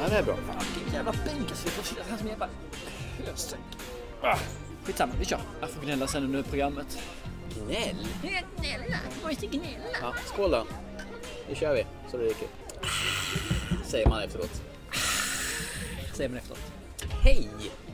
Ja, det är bra. Fan, vilken jävla bänk alltså. Jag får sitta här som en jävla hösäck. Ah, Skitsamma, vi kör. Jag får gnälla sen under programmet. Gnäll. Gnälla, måste gnälla. Ja, skål då. Nu kör vi så det ryker. Säger man efteråt. Säger man efteråt. Hej!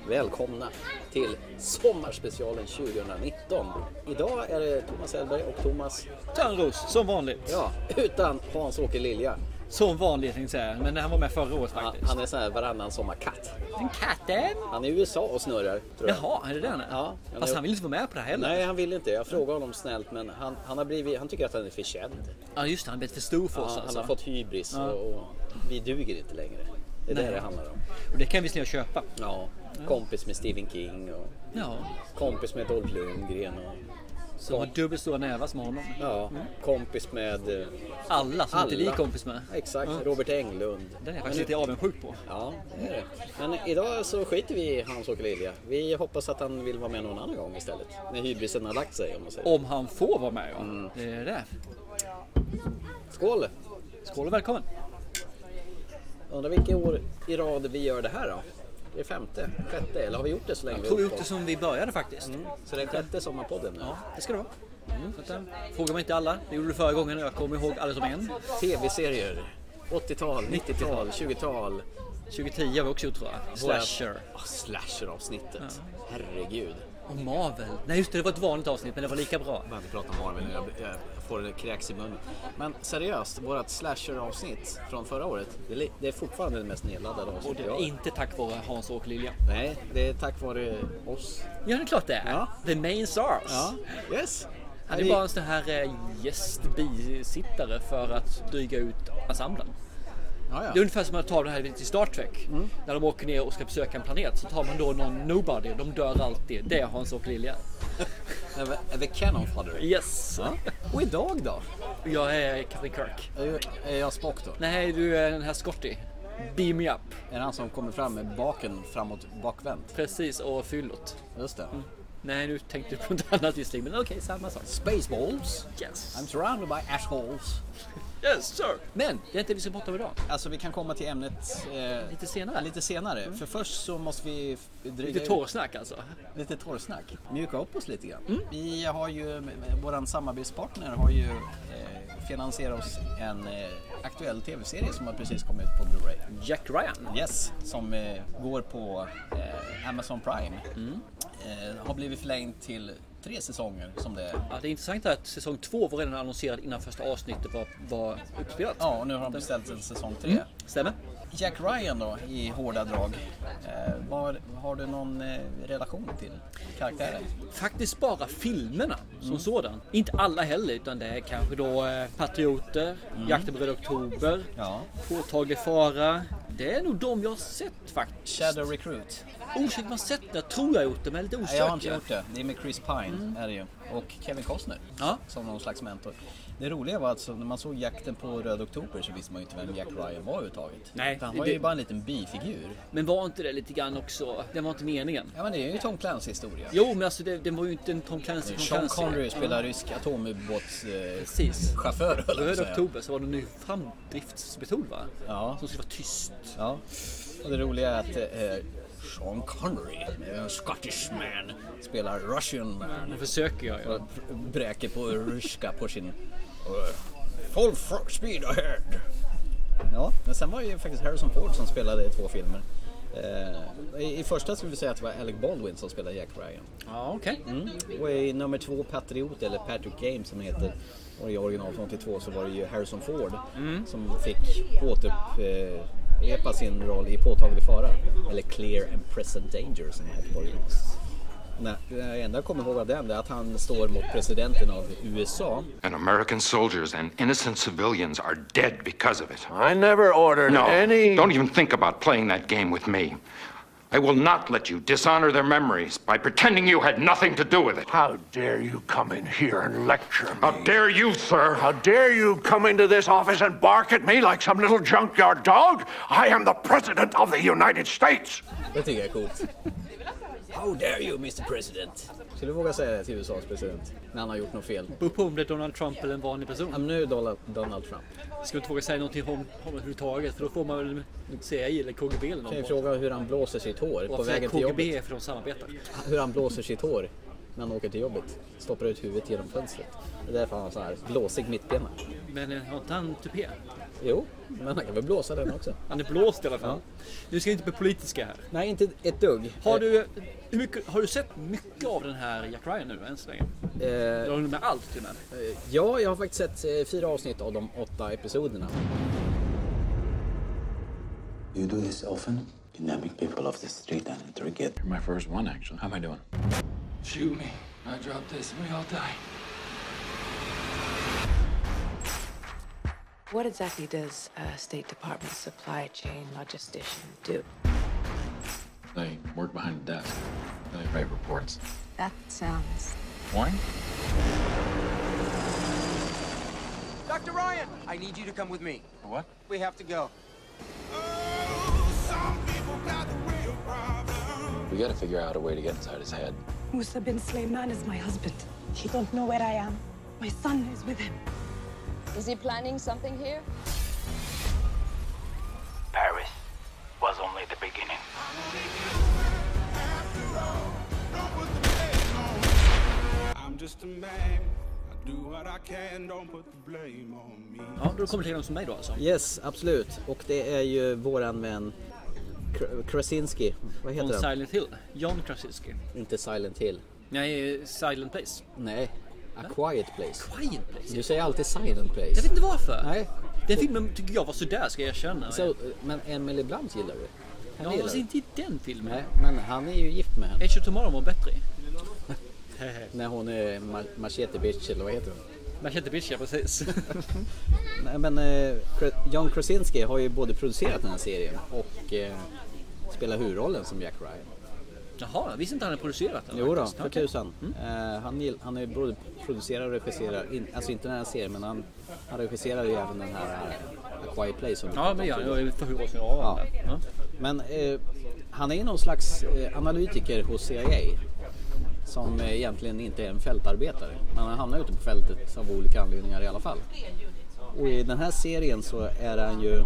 Välkomna till Sommarspecialen 2019. Idag är det Thomas Hellberg och Thomas, Törnros, som vanligt. ja, utan Hans-Åke Lilja. Som vanligt tänkte jag säga. Men han var med förra året Han, faktiskt. han är sån här varannan sommarkatt. Den katten! Han är i USA och snurrar, tror jag. Jaha, är det den? Ja, han Fast är- han vill inte vara med på det här heller. Nej, han vill inte. Jag frågade honom snällt, men han, han, har blivit, han tycker att han är för känd. Ja, just det. Han är lite för stor för Ja, oss han alltså. har fått hybris och, och vi duger inte längre. Det är Nej. det det handlar om. Och det kan vi snart köpa. Ja, kompis med Stephen King och Ja, kompis med Dolph Lundgren och som har dubbelt stora nävar som honom. ja, kompis med eh, Alla som inte vi är Alla. kompis med. exakt Robert Englund. Men Den är jag nu- faktiskt lite avundsjuk på. Ja, det är det. Men idag så skiter vi i Hans-Åke Lilja. Vi hoppas att han vill vara med någon annan gång istället. När hybrisen har lagt sig om man säger. Om han får vara med ja. Det är det. Skål! Skål och välkommen. Undrar vilka år i rad vi gör det här då? Det är femte, sjätte eller har vi gjort det så länge? vi Tog har ut hållit det på? som vi började faktiskt. Så det är sjätte sommarpodden nu? Ja, det ska det vara. Så att, eh, Frågar man inte alla. Det gjorde du förra gången och jag kommer ihåg alla som en. Tv-serier. 80-tal, 90-tal, 20-tal. 2010 har vi också gjort tror jag. Våra- Slasher. Ah, Slasher-avsnittet. Herregud. Och Marvel. Nej just det, det var ett vanligt avsnitt men det var lika bra. Jag behöver inte prata om Marvel nu, jag, jag får det kräks i munnen. Men seriöst, vårt slasher-avsnitt från förra året, det, är li- det är fortfarande det mest nedladdade Och avsnittet det jag var har. inte tack vare Hans och Lilja. Nej, det är tack vare oss. Ja, det är klart det är. Ja. The main stars. yes. Han är bara en sån här eh, gästbisittare för att dryga ut ensemblen. ja, Det är ungefär som att ta det här till Star Trek. När de åker ner och ska besöka en planet så tar man då någon nobody. De dör alltid. Det är Hans och Lilja. ja. The Cannon Fodder. Yes. Ja. Och idag då? Jag är Captain Kirk. Är jag- Är jag Spock då? Nej, du är den här Scotty. Beam me up. Är det han som kommer fram med baken framåt bakvänt? Precis, och fyllot. Just det. Mm. Nej, nu tänkte du på något annat visserligen, men okej, samma sak. Spaceballs. I'm Yes. surrounded by assholes. Yes, sir. Men det är inte det vi ska prata om idag. Alltså vi kan komma till ämnet eh, Lite senare. lite senare. För först så måste vi f- dryga Lite ut- torrsnack alltså. lite torrsnack. Mjuka upp oss lite grann. Vi har ju, våran samarbetspartner har ju eh, finansierat oss en eh, aktuell tv-serie som har precis kommit ut på Blu-ray. Jack Ryan. Yes, som eh, går på eh, Amazon Prime. Eh, har blivit förlängd till tre säsonger som det är. Ja, det är intressant att säsong två var redan annonserad innan första avsnittet var, var uppspelat. Mm. Ja, och nu har de beställt en säsong tre. Stämmer. Jack Ryan då, i hårda drag. Eh, var, har du någon eh, relation till karaktären? Faktiskt bara filmerna som sådan. Inte alla heller, utan det är kanske då eh, Patrioter, Jakten på Röda Oktober, Ja. Påtaglig fara. Det är nog de jag har sett faktiskt. Shadow Recruit. Osäkert man sett det, Jag tror jag gjort det, men jag är lite Nej, osäker. jag har inte gjort det. Det är med Chris Pine, är det ju. Och Kevin Costner Mm. Ja. som någon slags mentor. Det roliga var alltså när man såg jakten på Röd Oktober så visste man ju inte vem Jack Ryan var överhuvudtaget. Nej, Utan Han var det- ju bara en liten bifigur. Men var inte det lite grann också, det var inte meningen? Ja men det är ju Tom Clancy historia. Jo, men alltså det, det var ju inte en Tom Clancy Tom Sean Clancy. Connery spelar rysk atomubåtschaufför eh, Precis. chaufför, höll jag på att Röd säga. oktober så var det en ny framdriftsmetod va? Ja. Som skulle vara tyst. Ja. Och det roliga är att eh, Sean Connery, en Scottish man, spelar Russian man. Nu försöker jag ju. Och bräker på ryska på sin... eh, Full fro- speed ahead! Ja, men sen var det ju faktiskt Harrison Ford som spelade i två filmer. Eh, i, I första skulle vi säga att det var Alec Baldwin som spelade Jack Ryan. Ja, okej. Och i nummer två, Patriot, eller Patrick Game som den heter, och i original från 82 så var det ju Harrison Ford som fick återupprepa sin roll i Påtaglig fara. Eller Clear and Present Danger som den hette på original. Nej, Det enda jag kommer ihåg av den är att han står mot presidenten av USA. And American soldiers and innocent civilians are dead because of it. I never ordered No, any. don't even think about playing that game with me. I will not let you dishonor their memories by pretending you had nothing to do with it. How dare you come in here and lecture me? How dare you, sir? How dare you come into this office and bark at me like some little junkyard dog? I am the President of the United States. Det tycker jag är coolt. How dare you Mr President? Skulle du våga säga det till USAs president? När han har gjort något fel? Beror på om det är Donald Trump eller en vanlig person. Ja, men nu är Donald- Donald Trump. Ska vi inte våga säga någonting om honom överhuvudtaget för då får man väl CIA eller KGB eller Kan ju någon. fråga hur han blåser sitt hår på Varför vägen säger till jobbet. KGB för de samarbetar? Hur han blåser sitt hår när han åker till jobbet. Stoppar ut huvudet genom fönstret. Det är därför han har så här blåsig mittbena. Men eh, har inte han tupé? Jo, men han kan väl blåsa den också. Han är blåst i alla fall. Nu ska vi inte bli politiska här. Nej, inte ett dugg. Har du, hur mycket, har du sett mycket av den här Jack Ryan nu än så länge? Eh, eh, Du har hunnit med allt till och med. Eh, Ja, jag har faktiskt sett eh, fyra avsnitt av de åtta episoderna. You do this often? Kidnapping people off the street and interrogate. My first one, actually. How am I doing? Shoot me. I drop this and we all die. What exactly does a State Department supply chain logistician do? They work behind a desk. They write reports. That sounds Wine? Dr. Ryan, I need you to come with me. What? We have to go. We gotta figure out a way to get inside his head. Musa bin Sleiman is my husband. He don't know where I am. My son is with him. Is he planning something here? Paris was only the beginning. I'm just a man. I do what I can, don't put the blame on me. Ja, då kommer det till någon som mig då alltså. Yes, absolut. Och det är ju våran vän Kr- Krasinski. Vad Från heter han? Silent Hill. John Krasinski. Inte Silent Hill. Nej, Silent Place. Nej, A Quiet Place. Quiet Place. Du säger alltid Silent Place. Jag vet inte varför. Nej. Den filmen tycker jag var sådär ska jag erkänna. Så, eh, men Emily Blunt gillar du? Henne ja, gillar fast du? inte i den filmen. Nej, men han är ju gift med henne. Edge of Tomorrow var bättre i. När hon är ma- Machete Bitch eller vad heter hon? Machete Bitch ja, precis. Nej men eh, Kra- John Krasinski har ju både producerat den här serien och eh, spelar huvudrollen som Jack Ryan. Jaha, jag visste inte han hade producerat den. Jo då, faktiskt. för Okej. tusan. Eh, han, gill- han är både producerar och regisserar, in, alltså inte den här serien men han, han regisserar ju även den här eh, A Quiet Place. som vi Ja, pratade men om jag, tidigare. jag är för hur års jag har av Ja. den. ja. Men eh, han är någon slags eh, analytiker hos CIA. Som eh, egentligen inte är en fältarbetare. Men han hamnar ute på fältet av olika anledningar i alla fall. Och i den här serien så är han ju...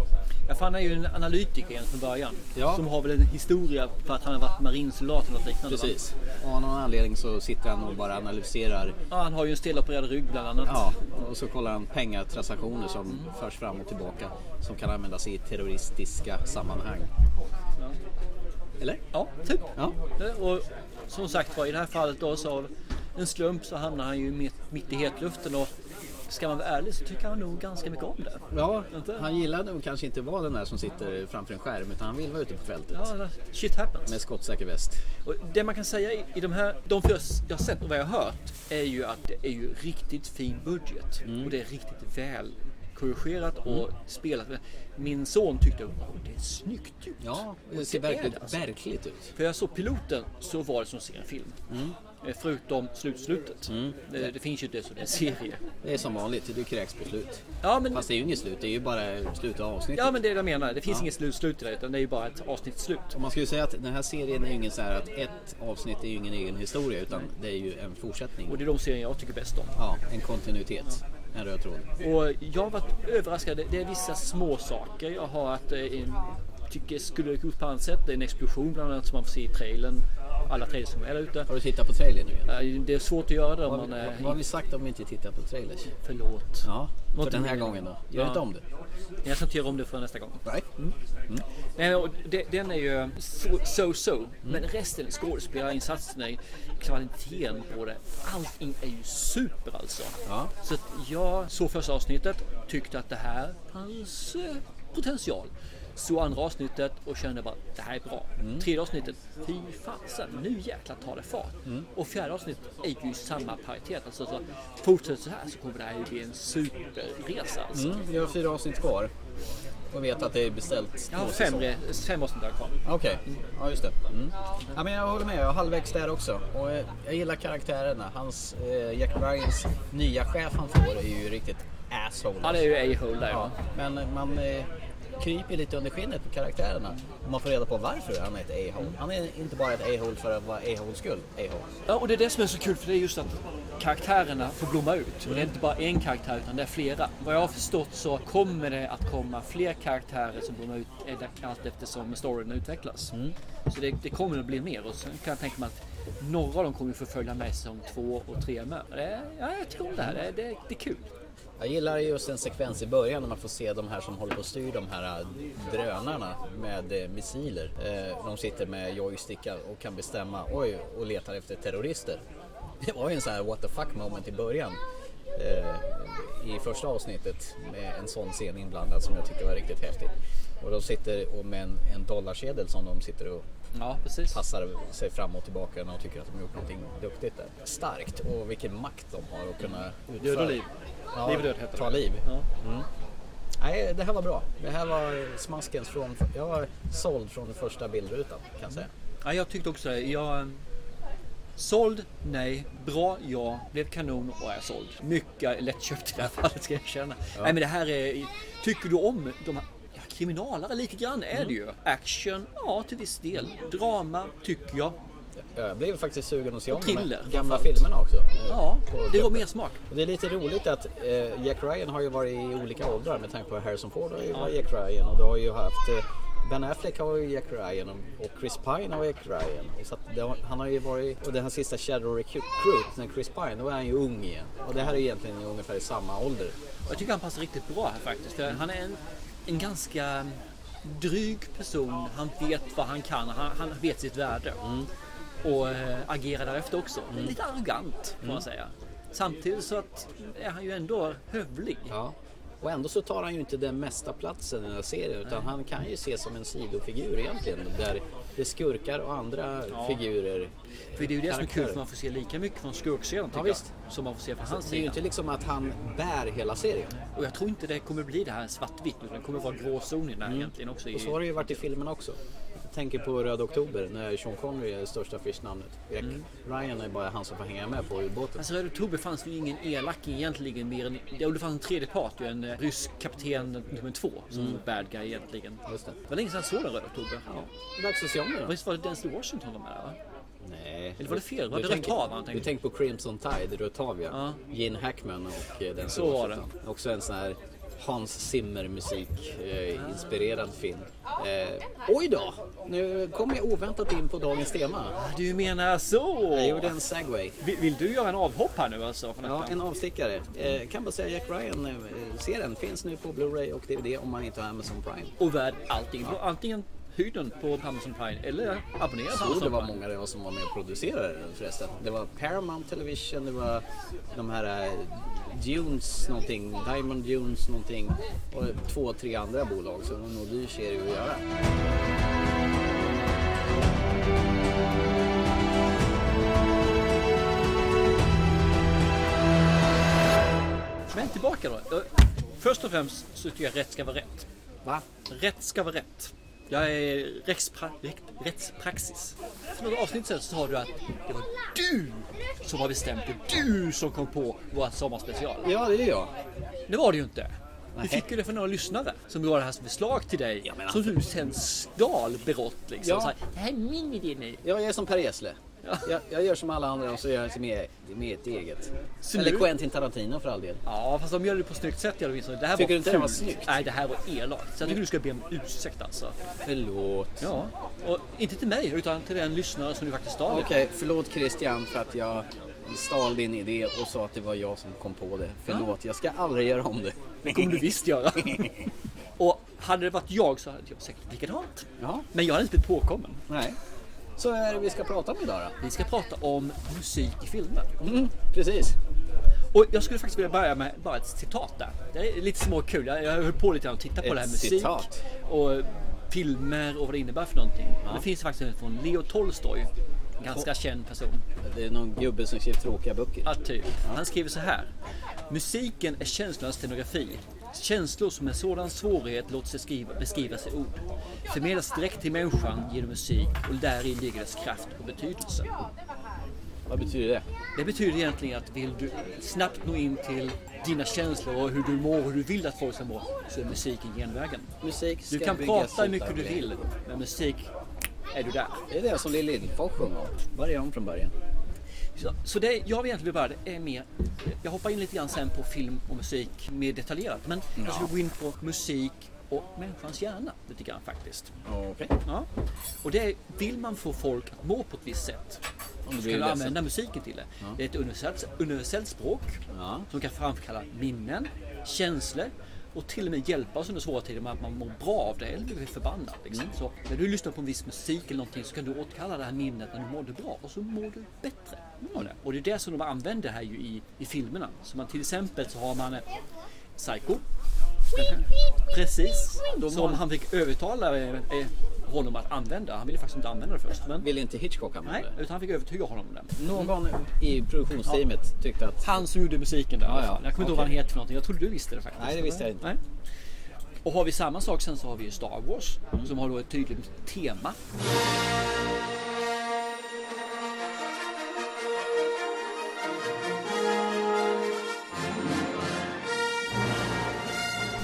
Ja, för han är ju en analytiker igen från början. Ja. Som har väl en historia för att han har varit marinsoldat eller något liknande. va? Och av någon anledning så sitter han och bara analyserar. Ja, han har ju en stelopererad rygg bland annat. Ja, och så kollar han pengatransaktioner som förs fram och tillbaka. Som kan användas i terroristiska sammanhang. Eller? Ja, typ. Ja. Och som sagt var, i det här fallet då så av en slump så hamnar han ju mitt, mitt i hetluften och ska man vara ärlig så tycker han nog ganska mycket om det. Ja, Inte? han gillar nog kanske inte vara den där som sitter framför en skärm utan han vill vara ute på fältet. Ja, shit happens. Med skottsäker väst. Och det man kan säga i, i de här, de fyra s- jag har sett och vad jag har hört är ju att det är ju riktigt fin budget Mm. och det är riktigt väl korrigerat och spelat. Min son tyckte att det är snyggt gjort. Ja, Och det ser är verkligt, det alltså. verkligt ut. För jag såg piloten så var det som att se en film. Mm. Eh, Förutom slutslutet. Det, det finns ju inte så det är en serie. Det är som vanligt, det kräks på slut. Ja men, Fast det är ju inget slut, det är ju bara slutet av avsnittet. ja, men det är det jag menar. Det finns inget slutslut i det utan det är ju bara ett avsnitt slut. Och Man skulle ju säga att den här serien är ju ingen så här att ett avsnitt är ju ingen egen historia utan det är ju en Och fortsättning. det är de serier jag tycker bäst om. Ja, en kontinuitet. En röd tråd. Och jag har varit överraskad. Det- Det är vissa små saker jag har att eh, tycker skulle gå ut på annat sätt. Det är en explosion bland annat som man får se i trailern. Alla trailers som är där ute. Har du tittat på trailern nu igen? Eh, Det är svårt att göra det om Vad, man vad, är... vad har vi sagt om vi inte tittar på trailers? Förlåt. Ja, för Något den här mer. gången då. Gör Ja. inte om det. Mm, Jag ska inte göra om det för nästa gång. Nej. Nej, och de- den är ju so- so-so. Men Mm. resten, skådespelarinsatserna, kvaliteten på det. Allting är ju super alltså. Ja. Så att jag såg första avsnittet, tyckte att det här fanns eh, potential. Så andra avsnittet och kände bara det här är bra. Mm. Tredje avsnittet, fy fasen, nu jäklar tar det fart. Mm. Och fjärde avsnittet är ju samma paritet. Alltså, så fortsätter så här så kommer det här ju bli en superresa. Alltså. Mm, vi har fyra avsnitt kvar. Och vet att det är beställt Jag har två fem, säsonger. re- fem avsnitt där kvar. Okej, ja just det. Mm. Ja, men jag håller med, jag är halvvägs där också. Och eh, jag gillar karaktärerna. Hans, eh, Jack Ryans nya chef han får är ju riktigt asshole. alltså. Ja, det är ju A-hole där. Ja, Ja. Men man, eh, kryper lite under skinnet på karaktärerna. Och man får reda på varför han är ett a-hole. Han är inte bara ett a-hole för att vara a-holes skull. A-hole. Ja, och det är det som är så kul för det är just att karaktärerna får blomma ut. Och det är inte bara en karaktär utan det är flera. Vad jag har förstått så kommer det att komma fler karaktärer som blommar ut allt eftersom storyn utvecklas. Så det, det kommer att bli mer och sen kan jag tänka mig att några av dem kommer att förfölja mig som två och tre med. Det, ja, jag tycker om det här, det, det, det är kul. Jag gillar just en sekvens i början när man får se de här som håller på att styra de här eh, drönarna med eh, missiler. Eh, De sitter med joystickar och kan bestämma, oj, och letar efter terrorister. Det var ju en sån här what the fuck moment i början. eh, I första avsnittet med en sån scen inblandad som jag tycker var riktigt häftig. Och de sitter och med en, en dollarkedel som de sitter och Ja, precis. passar sig fram och tillbaka när de tycker att de har gjort någonting duktigt där. Starkt och vilken makt de har att kunna utföra. Död och liv. Ja, Liv och död heter ta det. liv. Ja. Nej, det här var bra. Det här var smaskens från... Jag var såld från den första bildrutan kan jag säga. Ja, jag tyckte också det. Jag... eh, Såld? Nej. Bra? Ja. Blev kanon? Och är såld. Mycket lättköpt i det här fallet ska jag erkänna. Nej men det här är... Tycker du om de här... ja, Kriminalare lite grann är det ju. Action? Ja, till viss del. Drama? Tycker jag. Jag blev faktiskt sugen att se om Mm. de Och thriller, här gamla framförallt. filmerna också. Eh, Ja, på det var köpet. mer smak. Och det är lite roligt att eh, Jack Ryan har ju varit i olika åldrar med tanke på Harrison Ford har ju varit Jack Ryan och du har ju haft eh, Ben Affleck har ju Jack Ryan och- och Chris Pine har Jack Ryan. Så att det, har- han har ju varit, och den här sista Shadow Recruit, när Chris Pine, då är han ju ung igen. Och det här är egentligen ungefär i samma ålder. Och Jag tycker han passar riktigt bra här faktiskt. För han är en, en ganska dryg person. Han vet vad han kan. Han, han vet sitt värde. Mm. Och eh, agerar därefter också. Lite arrogant Mm. får man säga. Samtidigt så att, är han ju ändå hövlig. Ja. Och ändå så tar han ju inte den mesta platsen i den här serien utan han kan ju ses som en sidofigur egentligen. Där det är skurkar och andra figurer. För det är ju det som är kul Karaktär. för man får se lika mycket från skurksidan tycker Ja, visst. jag. Som man får se från hans Det är ju sida. inte liksom att han bär hela serien. Och jag tror inte det kommer bli det här svartvitt. Utan det kommer vara gråzon i den här egentligen också. Mm. Och så I, har det ju varit i filmen också. Jag tänker på Röd Oktober när Sean Connery är det största affischnamnet. Jack Ryan är bara han som får hänga med på ubåten. Alltså Röde Oktober fanns det ju ingen elak egentligen mer än... Jo, det fanns en tredje part ju, en eh, rysk kapten nummer två som var bad guy egentligen. Mm. Just det. Det var länge sedan jag såg den Röde Oktober. Ja. Dags att se om den då. Visst var det Denzel Washington de här va? Nej. Eller var det fel? Var Du det tänker- Rotava han tänkte? Du tänker på Crimson Tide, Rotavia. Ja. Gene Hackman och eh, den Så var det. Washington. Också en sån här Hans Zimmer musik Ah. eh, inspirerad film. Eh, oj då! Nu kom jag oväntat in på dagens tema. Ah, Du menar så! Jag gjorde en segway. Vill, vill du göra en avhopp här nu alltså? Från Ja, detta? en avstickare. Eh, kan bara säga Jack Ryan, eh, serien finns nu på Blu-ray och DVD om man inte har Amazon Prime. Och värd allting. Antingen hyr den på Amazon Prime eller abonnera på Jag tror det Amazon var Prime. många det var som var med och producerade den förresten. Det var Paramount Television, det var de här eh, Dunes någonting, Diamond Dunes någonting och två, tre andra bolag. Så det var nog dyr serie att göra. Men tillbaka då. Eh, Först och främst så tycker jag rätt ska vara rätt. Va? Rätt ska vara rätt. Jag är rättspra rätt, rättspraxis. För några avsnitt sedan sa du att det var du som har bestämt det. Du som kom på vår sommarspecial. Ja, det är jag. Det var det ju inte. Du fick ju det från några lyssnare som gav det här som förslag till dig. men alltså- Som du sen stal berått liksom. Ja. Så här, det här är min idé nu. Jag är som Per Gessle. Ja. Jag, jag gör som alla andra och så gör jag med, med ett eget. Så Eller nu- Quentin Tarantino för all del. Ja, fast de gör det på ett snyggt sätt i alla fall. Det här Tycker var du inte det var fult. snyggt? Nej, det här var elakt. Så jag tycker du ska be om ursäkt alltså. Förlåt. Ja, och inte till mig utan till den lyssnare som du faktiskt stal det. Okej, förlåt Christian för att jag stal din idé och sa att det var jag som kom på det. Förlåt, jag ska aldrig göra om det. Det kommer du visst göra. Och hade det varit jag så hade jag säkert likadant. Ja, Men jag hade inte blivit påkommen. nej. Så vad är det vi ska prata om idag då? Vi ska prata om musik i filmer. Precis. Och jag skulle faktiskt vilja börja med bara ett citat där. Det är lite småkul. Jag, jag höll på lite grann och tittade Ett på det här musik. citat. Och filmer och vad det innebär för någonting. Det finns faktiskt en från Leo Tolstoj. En Ganska känd person. Det är någon gubbe som skriver tråkiga böcker. Ja, typ. Han skriver så här. Musiken är känslornas stenografi. Känslor som med sådan svårighet låter sig skriva, beskrivas i ord. Förmedlas direkt till människan genom musik och däri ligger dess kraft och betydelse. Vad betyder det? Det betyder egentligen att vill du snabbt nå in till dina känslor och hur du mår och hur du vill att folk ska må så är musiken genvägen. Musik du ska kan byggas prata hur mycket utan du regler. vill, men musik är du där. Det är det som Lill Lindfors sjunger. Var är de från början? Så, så det jag egentligen vill börja är mer, jag hoppar in lite grann sen på film och musik mer detaljerat, men jag skulle gå in på musik och människans hjärna lite grann faktiskt. Okej. Ja. Och det är, vill man få folk att må på ett visst sätt så blir ska du ledsen. använda musiken till det. Det är ett universellt, universellt språk Ja. som kan framkalla minnen, känslor och till och med hjälpa oss under svåra tider med att man mår bra av det eller blir förbannad. Liksom. Så när du lyssnar på en viss musik eller någonting så kan du återkalla det här minnet när du mådde bra och så mår du bättre av det. Och det är det som de använder här ju i, i filmerna. Så man, till exempel så har man eh, Psycho Precis. Som han fick övertala eh, eh, honom att använda. Han ville faktiskt inte använda det först. Men, Vill inte Mm. Hitchcock använda nej, det? utan han fick övertyga honom om det. Någon i produktionsteamet tyckte att... Han som gjorde musiken där. i Ja, alla fall. ja. Jag kommer inte ihåg Okej. vad han heter för någonting. Jag trodde du visste det faktiskt. Nej, det visste jag inte. Nej. Och har vi samma sak sen så har vi ju Star Wars Mm. som har då ett tydligt tema.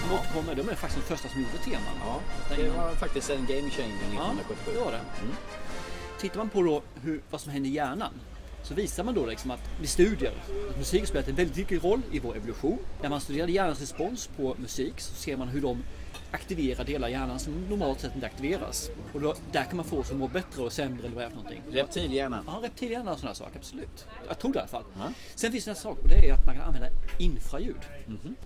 De återkommer, de är faktiskt de första som gjorde teman. Ja, Den- det var faktiskt en game changer Ja, 1977. det var det. Mm. Tittar man på då hur, vad som händer i hjärnan så visar man då liksom att vid studier att musik har spelat en väldigt viktig roll i vår evolution. När man studerar hjärnans respons på musik så ser man hur de aktiverar delar i hjärnan som normalt sett inte aktiveras. Och då, där kan man få oss att må bättre och sämre eller vad det är för någonting. Reptilhjärnan. Ja, reptilhjärna och sådana saker, absolut. Jag tror det i alla fall. Sen finns det en sak och det är att man kan använda infraljud.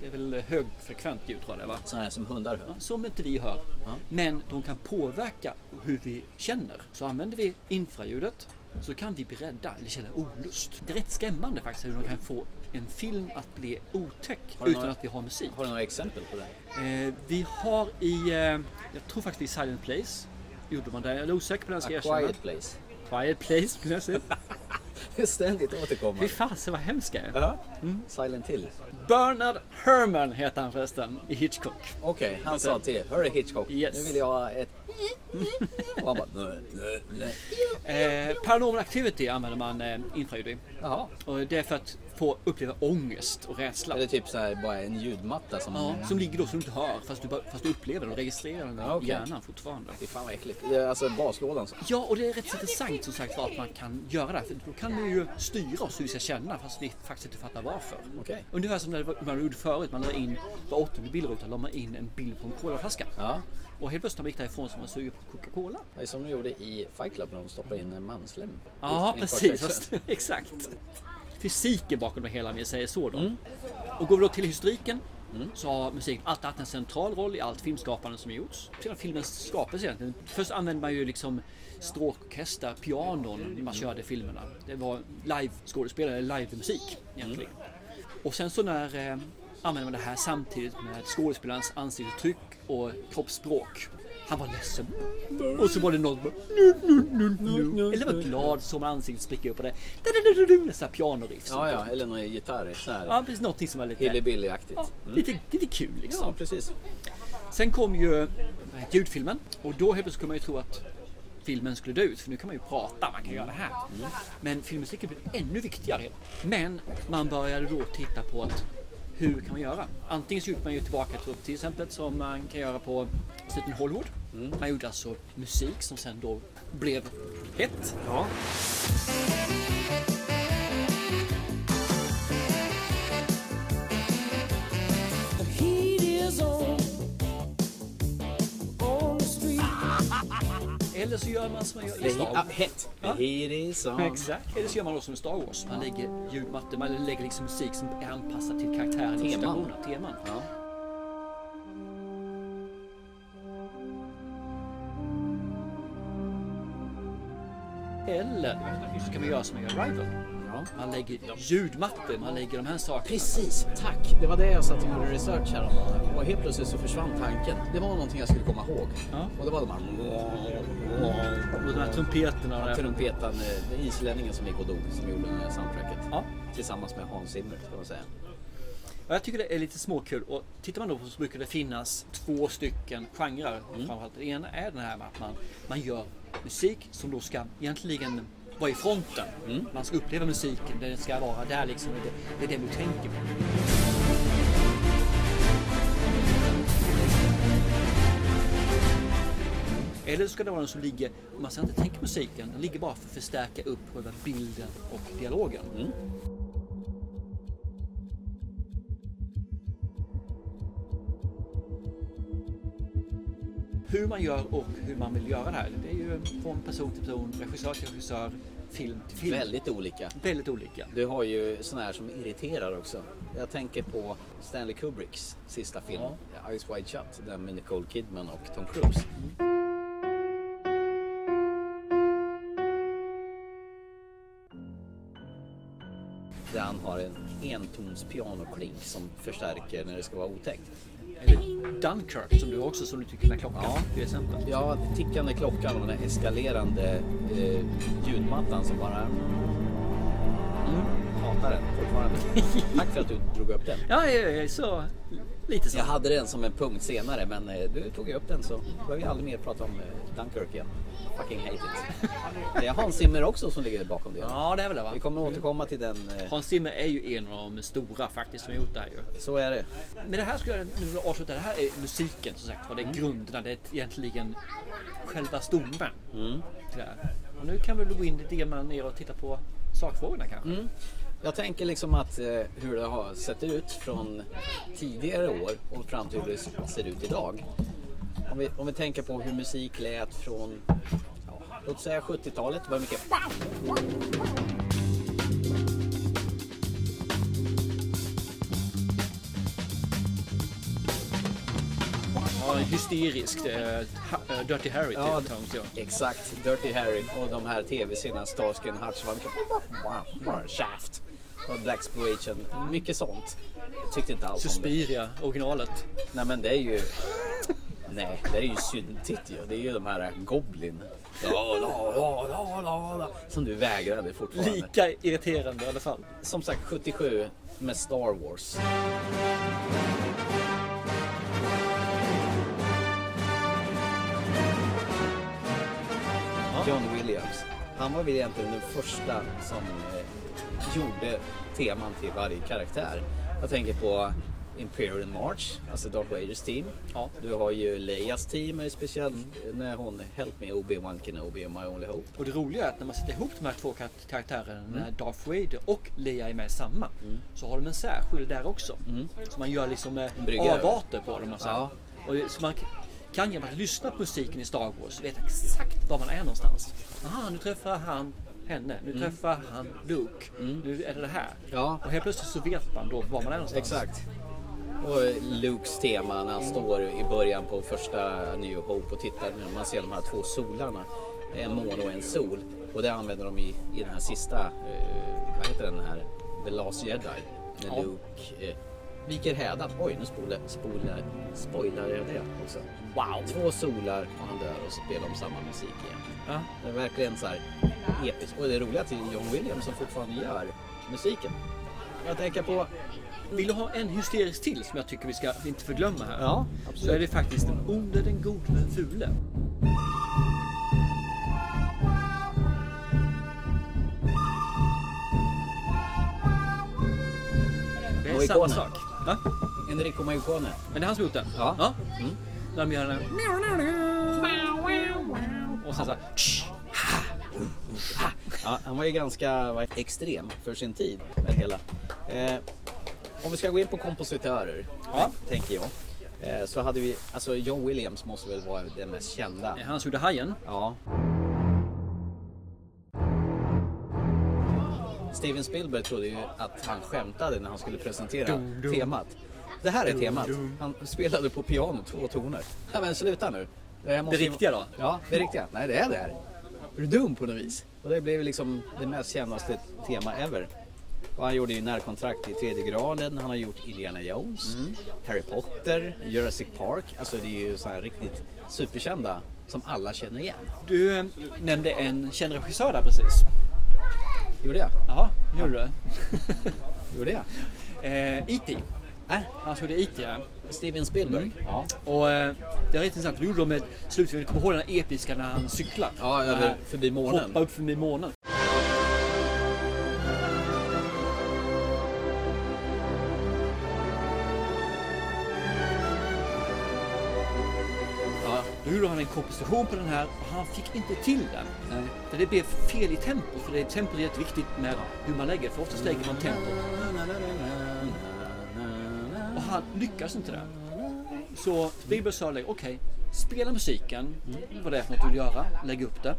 Det är väl högfrekvent ljud tror jag det är, va? Sådana här som hundar hör. som inte vi hör. Men de kan påverka hur vi känner. Så använder vi infraljudet så kan vi bli rädda eller känna olust. Det är rätt skrämmande faktiskt hur de kan få en film att bli otäck du utan några- att vi har musik. Har du några exempel på det? här? Eh, vi har i, eh, jag tror faktiskt i Silent Place, gjorde man det. Jag är osäker på den, ska jag A erkänna. quiet place. Quiet Place, skulle jag säga. Ständigt Fy Mm. återkommande. fasen vad hemskt jag är. Ja. Silent Hill. Bernard Herrmann heter han förresten i Hitchcock. Okej, han sa till er. Hörru Hitchcock, Yes. nu vill jag ha ett... Och han bara... "Nö, nö, nö." Eh, Paranormal Activity använder man eh, infraljud i. Jaha. Och Eh, det är för att få uppleva ångest och rädsla. Eller typ så här, bara en ljudmatta som... Ja, som ligger då som du inte hör fast du, bara- fast du upplever den och registrerar den i Ja, okej. hjärnan fortfarande. Fy fan vad äckligt. Det är Alltså baslådan. så- Ja, och det är rätt så intressant som sagt var att man kan göra det. För då kan vi ju styra oss hur vi ska känna fast vi faktiskt inte fattar varför. Okej. Ungefär som när det var- man gjorde förut. Man la in, var åttonde bildruta la man in en bild på en colaflaska. Ja. Och helt plötsligt när man gick därifrån som man suger på Coca-Cola. Det är som de gjorde i Fight Club när de stoppade in en manslem. Ja, I- i precis. kortväxten. Exakt. Mm. Fysiken bakom det hela, om vi säger så då. Och går vi då till historiken så har musiken alltid haft en central roll i allt filmskapande som gjorts. Sedan filmens skapelse egentligen. Först använde man ju liksom stråkorkester, pianon när man körde filmerna. Det var live-skådespelare, live-musik egentligen. Och sen så när eh, använder man det här samtidigt med skådespelarens ansiktsuttryck och kroppsspråk. Han var ledsen. Och så var det någon nu, nu, nu, nu. Eller var glad som ansiktet spricker upp och det. Nästan pianoriff. Ja, ja. Eller någon gitarr. Så här Ja, precis. Någonting som var lite, Hillebilly-aktigt. ja, lite, lite kul liksom. Ja, precis. Sen kom ju eh, ljudfilmen och då helt plötsligt kunde man ju tro att filmen skulle dö ut för nu kan man ju prata, man kan göra det här. Men filmmusiken blev ännu viktigare. Men man började då titta på att hur kan man göra? Antingen så gick man ju tillbaka till, till exempel som man kan göra på Stephen Hollywood. Man gjorde alltså musik som sen då blev hett. Eller så gör man som man gör i Star Ja, hett. Here is on. Exakt. Eller så gör man då som i Star Wars. Man lägger ljudmattor, man lägger liksom musik som är anpassad till karaktären i Teman. situationen, teman. Ja. Eller så kan man göra som i Arrival. Man lägger ljudmattor, man lägger de här sakerna. Precis, tack. Det var det jag satt och gjorde research häromdagen. Och helt plötsligt så försvann tanken. Det var någonting jag skulle komma ihåg. Ja. Och det var de här... Och de här trumpeterna. och det här. Trumpetaren, eh, den islänningen som gick och dog, som gjorde det här soundtracket. Ja. Tillsammans med Hans Zimmer, kan man säga. Ja, Jag tycker det är lite småkul och tittar man då på så brukar det finnas två stycken genrer. Framförallt den ena är den här med att man, man gör musik som då ska egentligen vara i fronten. Man ska uppleva musiken, den ska vara där liksom. Det, det är det du tänker på. Eller ska det vara den som ligger, man ska inte tänka musiken, den ligger bara för att förstärka upp själva bilden och dialogen. Hur man gör och hur man vill göra det här, det är ju från person till person, regissör till regissör, film till film. Väldigt olika. Väldigt olika. Du har ju såna här som irriterar också. Jag tänker på Stanley Kubricks sista film, Eyes Wide Shut, den med Nicole Kidman och Tom Cruise. Där han har en entons pianokling som förstärker när det ska vara otäckt. Eller Dunkirk som du också som du tycker med klockan ja. till exempel. Ja, tickande klockan och den här eskalerande eh, ljudmattan som bara... Mm. Hatar den fortfarande. Tack för att du drog upp den. Ja, ja, ja, så lite så. Jag hade den som en punkt senare men eh, du tog ju upp den så behöver jag aldrig mer prata om eh, Dunkirk igen. Fucking hate it. Det är Hans Zimmer också som ligger bakom det. Ja, det är väl det va? Vi kommer återkomma till den. eh, Hans Zimmer är ju en av de stora faktiskt som har gjort det här ju. Så är det. Men det här skulle jag nu avsluta. Det här är musiken som sagt var. Det är grunderna. Det är egentligen själva stommen. till det här. Och nu kan vi väl gå in lite grann ner och titta på sakfrågorna kanske. Jag tänker liksom att eh, hur det har sett ut från tidigare år och fram till hur det ser ut idag. Om vi, om vi tänker på hur musik lät från, ja, låt säga 70-talet. Det var mycket Ja, hysteriskt. eh, ha- eh, Dirty Harry till Ja, Tones ja. Exakt, Dirty Harry och de här tv-serierna Starsky and Hutch. var mycket- Shaft och Black Exploitation. Mycket sånt. Jag tyckte inte alls om det. Suspiria, originalet. Nej men det är ju... Nej, det är ju syntigt ju. Det är ju de här eh, Goblin. La, la, la, la, la, la, som du vägrade fortfarande. Lika irriterande i alla fall. Som sagt 77 med Star Wars. John Williams. Han var väl egentligen den första som eh, gjorde teman till varje karaktär. Jag tänker på Imperial March, alltså Darth Vaders team. Ja. Du har ju Leias team, är speciellt när hon Help Me Obi-Wan Kenobi och My Only Hope. Och det roliga är att när man sätter ihop de här två kar- karaktärerna, Mm. när Darth Vader och Leia är med i samma, så har de en särskild där också. Så man gör liksom eh, Mm. brygga över. avarter på dem. Och så, här. Ja. och det- så man k- kan genom att lyssna på musiken i Star Wars veta exakt var man är någonstans. Aha, nu träffar han henne, nu träffar han Luke, nu är det det här. Mm. Ja. Och helt plötsligt så vet man då var man är någonstans. Exakt. Och Lukes tema när han står i början på första New Hope och tittar när man ser de här två solarna. En måne och en sol. Och det använder de i, i den här sista, eh, vad heter den här, The Last Jedi. När Ja. Luke eh, viker hädan. Oj, nu spoilar, spoilar, spoilar jag det också. Wow! Två solar och han dör och så spelar de samma musik igen. Ja. Det är verkligen så här episkt. Och det roliga till John Williams som fortfarande gör musiken. Jag tänker på Vill du ha en hysterisk till som jag tycker vi ska inte förglömma här? Ja, Så är det faktiskt den onde, den gode, den fule. Det är samma Morricone. sak. Va? Enrico Mancone. Men det är han som gjort den? Ja. Mm. När de gör den här- Och sen så här... Ja, han var ju ganska vad- extrem för sin tid. Med hela. Eh, om vi ska gå in på kompositörer, Ja. tänker jag. Eh, så hade vi, alltså John Williams måste väl vara den mest kända. Det är han som gjorde Hajen. Ja. Steven Spielberg trodde ju att han skämtade när han skulle presentera temat. Det här är temat. Han spelade på piano två toner. Nej men sluta nu. Det, här måste Det ju- riktiga då? Ja, det riktiga. Nej, det är det här. Är du dum på något vis? Och det blev liksom det mest kändaste tema ever. Och han gjorde ju närkontrakt i tredje graden, han har gjort Indiana Jones, Mm. Harry Potter, Jurassic Park. Alltså det är ju så här riktigt superkända som alla känner igen. Du eh, nämnde en känd regissör där precis. Gjorde jag? Ja, det gjorde Gjorde jag? du. Eh, IT. Äh, Han som gjorde IT. E ja. Steven Spielberg? Ja. Och eh, det är rätt intressant. Det gjorde de med slutfilmen. Kommer du ihåg den här episka när han cyklar? Ja, När över- han Äh, förbi månen. Hoppar upp förbi månen. Ja. Då gjorde han han en komposition på den här och han fick inte till den. För det blev fel i tempo, för det, tempo är jätteviktigt med hur man lägger, för oftast lägger man tempo. Och han lyckas inte där. Så Spielberg sa okej, spela musiken, vad det är för något du vill göra, lägg upp det.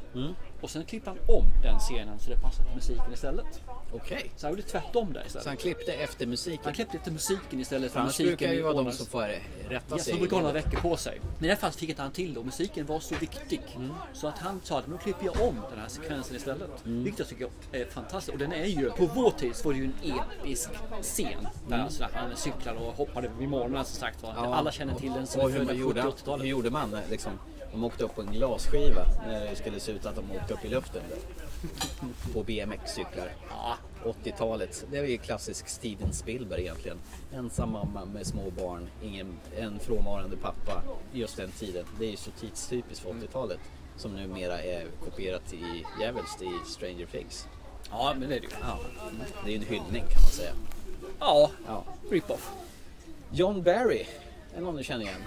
Och sen klipper han om den scenen så det passar till musiken istället. Okej. Så han gjorde tvärtom där istället. Så han klippte efter musiken? Han klippte efter musiken istället för Annars musiken. brukar ju vara de ordnas- som får rätta Yes, sig. de brukar ha några veckor på sig. Men i det här fallet fick inte han till det och musiken var så viktig. Mm. Så att han sa att nu klipper jag om den här sekvensen istället. Mm. Vilket jag tycker är fantastiskt. Och den är ju, på vår tid så var det ju en episk scen. Där alltså när han cyklar och hoppade i morgonen som sagt var. Mm. Ja. Alla känner till den som och är hur, födda man på gjorde, 70 80-talet. hur gjorde man? eh, Liksom, de åkte upp på en glasskiva när det skulle se ut att de åkte upp i luften. Där. På BMX-cyklar. 80-talet. Det är ju klassisk Steven Spielberg egentligen. Ensam mamma med små barn, ingen, en frånvarande pappa. Just den tiden. Det är ju så tidstypiskt för 80-talet. Som numera är kopierat i djävulskt i Stranger Things. Ja, men det är det ju. Ja. Det är ju en hyllning kan man säga. Ja, Ja. rip-off. John Barry, är det någon du känner igen?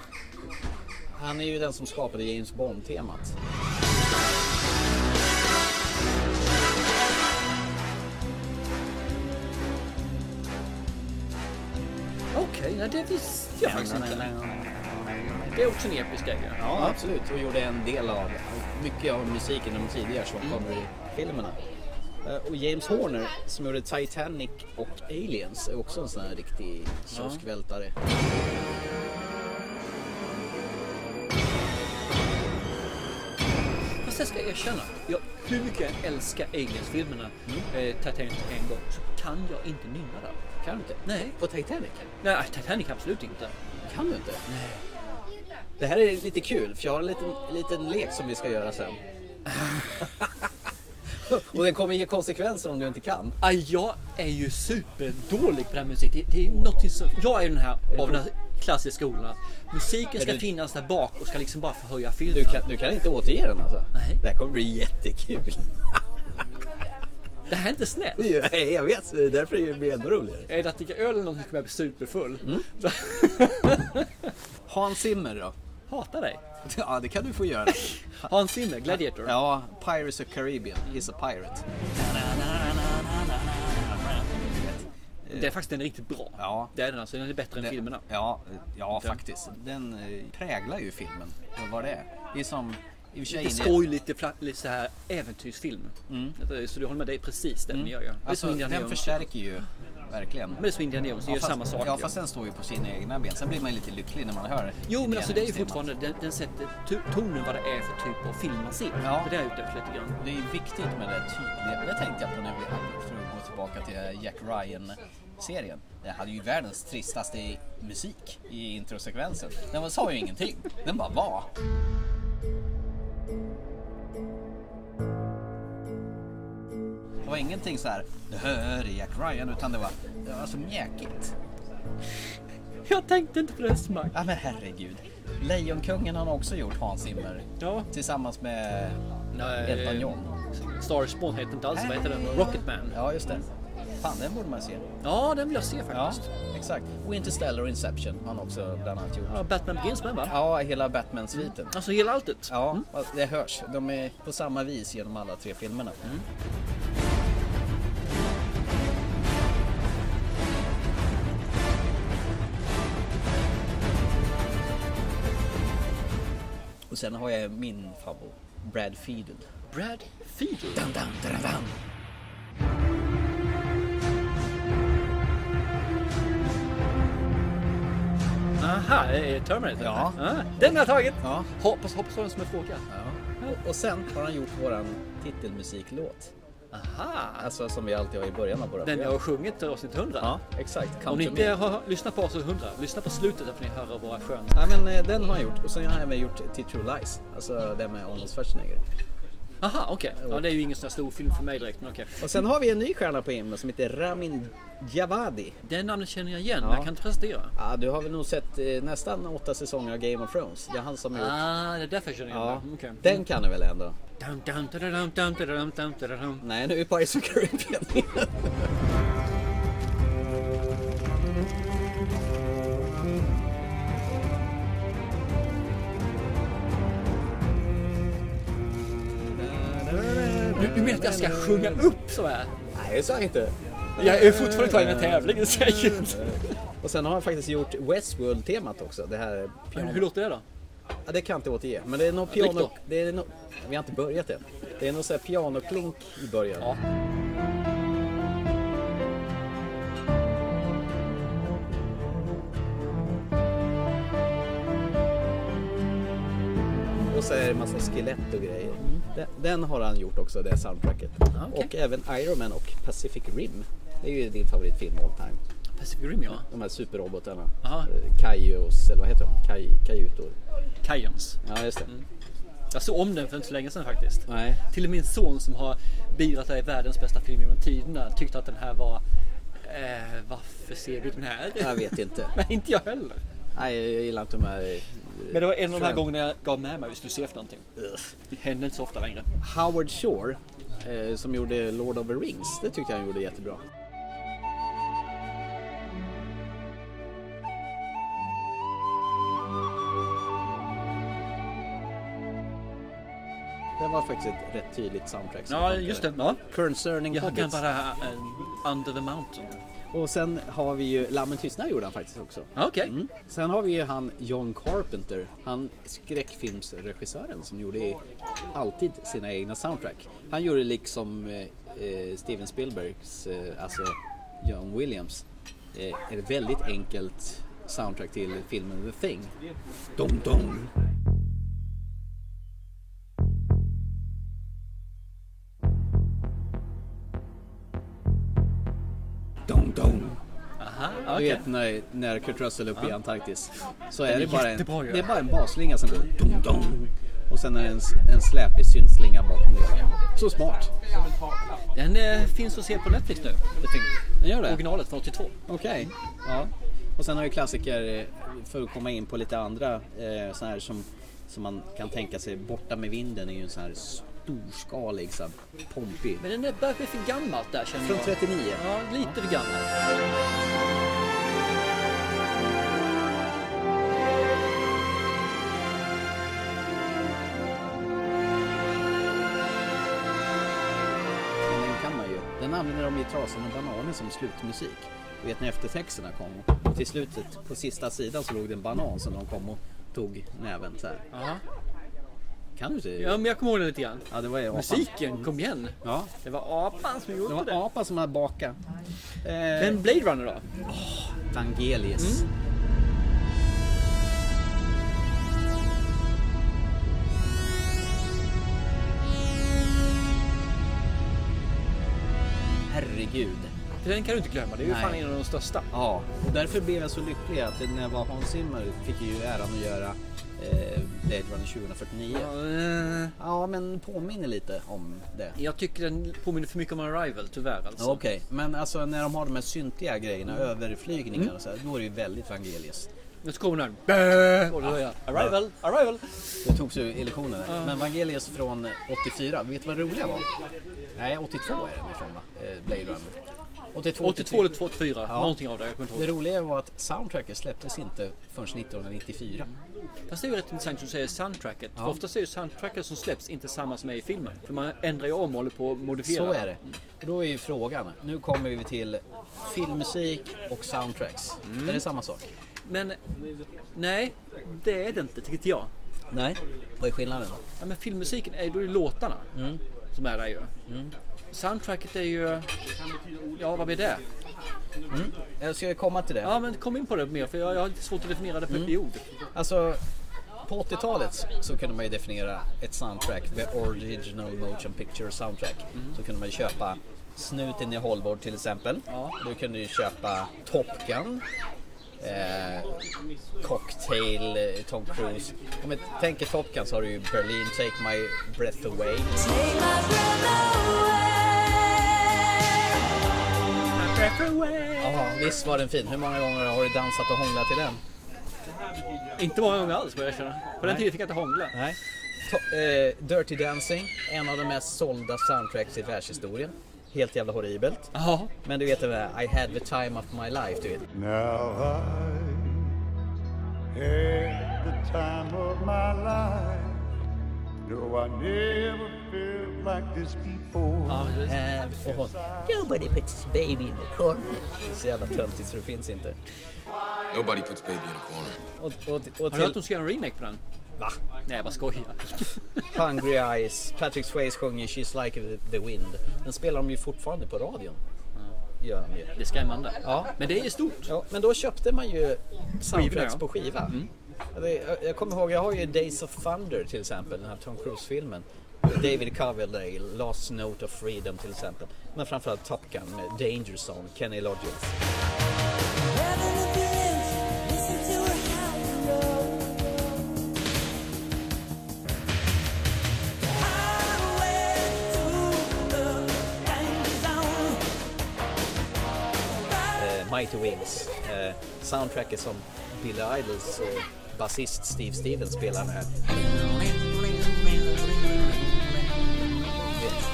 Han är ju den som skapade James Bond-temat. Okej, nej, det visste jag faktiskt inte. Det är också en episk grej. ju. Ja, absolut. Och gjorde en del av mycket av musiken de tidigare som kommer i filmerna. Eh, Och James Horner som gjorde Titanic och Aliens är också en sån här riktig kioskvältare. Fast jag ska erkänna, jag, hur mycket jag än älskar Aliens-filmerna, eh, Titanic en gång, så kan jag inte nynna den. Kan du inte? Nej. På Titanic? Nej, äh, Titanic absolut inte. Kan du inte? Nej. Det här är lite kul för jag har en liten, liten lek som vi ska göra sen. och den kommer ge konsekvenser om du inte kan. Ah, jag är ju superdålig på den här musiken. Det, det är något som, jag är den här av den här klassiska skolan. att Musiken ska Är du- finnas där bak och ska liksom bara förhöja filmen. Du kan, du kan inte återge den alltså? Nej. Det här kommer bli jättekul. Det här är inte snällt. Nej, jag vet. Det är därför det blir ännu roligare. Är det att dricka öl eller någonting kommer jag bli superfull. Så, Hans Zimmer då? hatar dig. Ja, det kan du få göra. Hans Zimmer, Gladiator. Ja, Pirates of Caribbean. He's a pirate. Det är faktiskt den är riktigt bra. Ja. Det är den alltså. Den är bättre än filmerna. Ja, ja Den- faktiskt. Den eh, präglar ju filmen för vad det är. Det är som... I och för sig Lite inne- skoj, lite, pla- lite så här äventyrsfilm. eh, Så du håller med, det är precis det den gör ju. Det är Alltså, som Indiana den Jones. förstärker ju verkligen. Men det är som Indiana Jones, det gör fast, samma sak. Ja, ju. fast den står ju på sina egna ben. Sen blir man ju lite lycklig när man hör Jo, men Indiana alltså det är ju Jones-temat. fortfarande, den, den sätter tu- tonen vad det är för typ av film man ser. Ja. Det där är jag ute efter lite grann. Det är viktigt med det tydliga. Det tänkte jag på när vi för att gå tillbaka till eh, Jack Ryan-serien. Den hade ju världens tristaste musik i introsekvensen. Den sa ju ingenting. Den bara var. Det var ingenting så här, det här är Jack Ryan, utan det var, det var så mjäkigt. Jag tänkte inte på det smack. Ja men herregud. Lejonkungen har han också gjort, Hans Zimmer. Ja. Eh, Tillsammans med Nej. Elton John. Starspawn heter inte alls, vad heter den? Rocketman. Ja, just det. Fan, den borde man se. Ja, den vill jag se Ja, faktiskt. exakt. Och Interstellar och Inception har han också bland annat gjort. Mm. Ja, Batman Begins med va? Ja, hela Batman-sviten. Alltså hela alltet. Ja, det hörs. De är på samma vis genom alla tre filmerna. Och sen har jag min favorit, Brad Fiedel. Brad Fiedel. Dun, dun, dun, dun, dun. Aha, det är Terminator. Ja. Den har jag tagit. Ja. Hoppas, hoppas ha den som en fråga. Och- Och sen har han gjort våran titelmusiklåt. Aha. Alltså som vi alltid har i början av våra Den jag har sjungit till avsnitt 100. Ja, exakt. Come Om ni to inte me. har lyssnat på avsnitt 100, lyssna på slutet så får ni höra våra sköna... Ja, men eh, den har han gjort. Och sen har han även gjort Till True Lies. Alltså den med Arnold Schwarzenegger. Aha, okej. Ja, det är ju ingen sån här stor film för mig direkt, men okej. Och sen har vi en ny stjärna på himlen som heter Ramin Djawadi. Det namnet känner jag igen, men Ja. jag kan inte prestera. Ja, du har väl nog sett eh, nästan åtta säsonger av Game of Thrones. Det är han som har gjort... Ah, det är därför jag känner igen Ja, det. Okej. den kan du väl ändå? Dum, dum, tadadum, dum, tadadum, dum, tadadum. Nej, nu är Pirates of Caribbean igen. Du, du menar att jag ska sjunga upp så här? Nej, det sa jag inte. Jag är fortfarande kvar i den här tävlingen säkert. Och sen har han faktiskt gjort Westworld-temat också. Det här piano... Hur låter det då? Ja, det kan jag inte återge. Men det är något Ja, drick piano... då. Det är något... Vi har inte börjat än. Det är någon sån här pianoklink i början. Ja. Och så är det en massa skelett och grejer. Den, den har han gjort också, det soundtracket. Mm. okej. Och även Iron Man och Pacific Rim. Det är ju din favoritfilm all time. Pacific Rim ja. De här superrobotarna. Aha. Eh, Kaios, eller vad heter de? Kai, Kaiutor. Kajans. Ja, just det. Mm. Jag såg om den för inte så länge sedan faktiskt. Nej. Till och med min son som har beivrat det här i världens bästa film genom tiderna tyckte att den här var... Eh, varför ser vi den här? Jag vet inte. Nej, inte jag heller. Nej, jag gillar inte de här... eh, Men det var en av de här Fram- gångerna jag gav med mig vi skulle se efter någonting. Det händer inte så ofta längre. Howard Shore, eh, som gjorde Lord of the Rings, det tyckte jag han gjorde jättebra. Det var faktiskt ett rätt tydligt soundtrack. som Ja, funkar. just det. Ja. Concerning Jag kan Hobbits. bara eh, Under the Mountain. Och sen har vi ju Lammen tystnar gjorde han faktiskt också. Ja, Ah, Okej. Mm. Sen har vi ju han John Carpenter, han skräckfilmsregissören som gjorde i- alltid sina egna soundtrack. Han gjorde liksom eh, eh, Steven Spielbergs, eh, alltså John Williams, eh, ett väldigt enkelt soundtrack till filmen The Thing. Dum, dum. Dum, dum. Aha, Du Ah, okej. vet när, när Kurt Russell är uppe i Antarktis. Så är, är det, bara en, jättebra ju. det är bara en basslinga som går dum, dum. Och sen är det en, en släpig syntslinga bakom det. Så smart. Den eh, finns att se på Netflix nu. The Thing. Den gör det? Originalet från 82. Okej. Ja. Och sen har ju klassiker, eh, för att komma in på lite andra eh, såna här som, som man kan tänka sig, Borta med vinden är ju en sån här storskalig, så här pompig. Men den är börjar bli för gammalt där känner Från jag. 39. Ja, lite för gammal. Men den kan man ju. Den använder de i Trasan och bananen som slutmusik. Du vet när eftertexterna kom. Och till slutet, på sista sidan så låg det en banan som de kom och tog näven så här. Aha. Kan du inte? Ja, men jag kommer ihåg den lite grann. Ja, det var ju apan. Musiken, kom igen. Ja. Det var apan som Det gjorde var det. en apa som hade bakat. Eh, Men Blade Runner då? Vangelius. Herregud. För den kan du inte glömma. Det är ju Nej. fan en av de största. Ja, och därför blev jag så lycklig att när jag var Hans Zimmer fick jag ju äran att göra eh, Blade Runner 2049. Eh, Ja, men påminner lite om det. Jag tycker den påminner för mycket om Arrival tyvärr alltså. Okej, men alltså när de har de här syntiga grejerna, överflygningar och så här, då är det ju väldigt Vangelius. Nu kommer den. här. Och då är jag, Arrival, Arrival. Det togs ju i lektionen. här. Men Vangelius från 84, vet du vad det roliga var? Nej, 82 är den ifrån va? Eh, Blade Runner. 82, 82 eller 84, Ja. någonting av det. Jag kommer inte Det ihåg. roliga var att soundtracket släpptes inte förrän 1994. Fast det är ju rätt intressant som du säger soundtracket. Ja. För oftast är ju soundtracket som släpps inte samma som är i filmen. För man ändrar ju om och håller på att modifiera. Så är det. Och Då är ju frågan, nu kommer vi till filmmusik och soundtracks. Är det samma sak? Men nej, det är det inte tycker inte jag. Nej. Vad är skillnaden? Ja, men filmmusiken är ju då är det låtarna Mm. som är där ju. Soundtracket är ju... Ja, vad blir det? Jag ska komma till det. Ja, men kom in på det mer för jag, jag har lite svårt att definiera det på Mm. ett ord. Alltså, på 80-talet så kunde man ju definiera ett soundtrack, the original motion picture soundtrack. Så kunde man ju köpa Snuten i Hollywood till exempel. Ja. Du kunde ju köpa Top Gun. Eh, cocktail, eh, Tom Cruise. Om jag tänker Top Gun så har du ju Berlin, Take My Breath Away. Ja, visst var den fin. Hur många gånger har du dansat och hånglat till den? Inte många gånger alls vad jag känner. På den tiden fick jag inte hångla. Nej. To- eh, Dirty Dancing, en av de mest sålda soundtracks i världshistorien. Helt jävla horribelt. Ja, Men du vet det där I had the time of my life, du vet. Now I had the time of my life. No, I never felt like this before. Uh. And Eh, och hon, nobody puts baby in the corner. Det är så jävla töntigt så det finns inte. Nobody puts baby in a corner. Och, och, och till... Har du hört att de ska göra en remake på den? Va? Nej, jag bara skojar. Hungry Eyes, Patrick Swayze sjunger She's Like The Wind. Den spelar de ju fortfarande på radion. Gör de ju. Det är skrämmande. Ja. Men det är ju stort. Ja, men då köpte man ju soundtracks ja. på skiva. Det- jag- Jag kommer ihåg, jag har ju Days of Thunder till exempel, den här Tom Cruise-filmen. David Coverdale, Last Note of Freedom till exempel. Men framförallt Top Gun med Danger Zone, Kenny Loggins. eh, Mighty Wings. Eh, soundtracket som Billy Idols eh, basist Steve Stevens spelar med.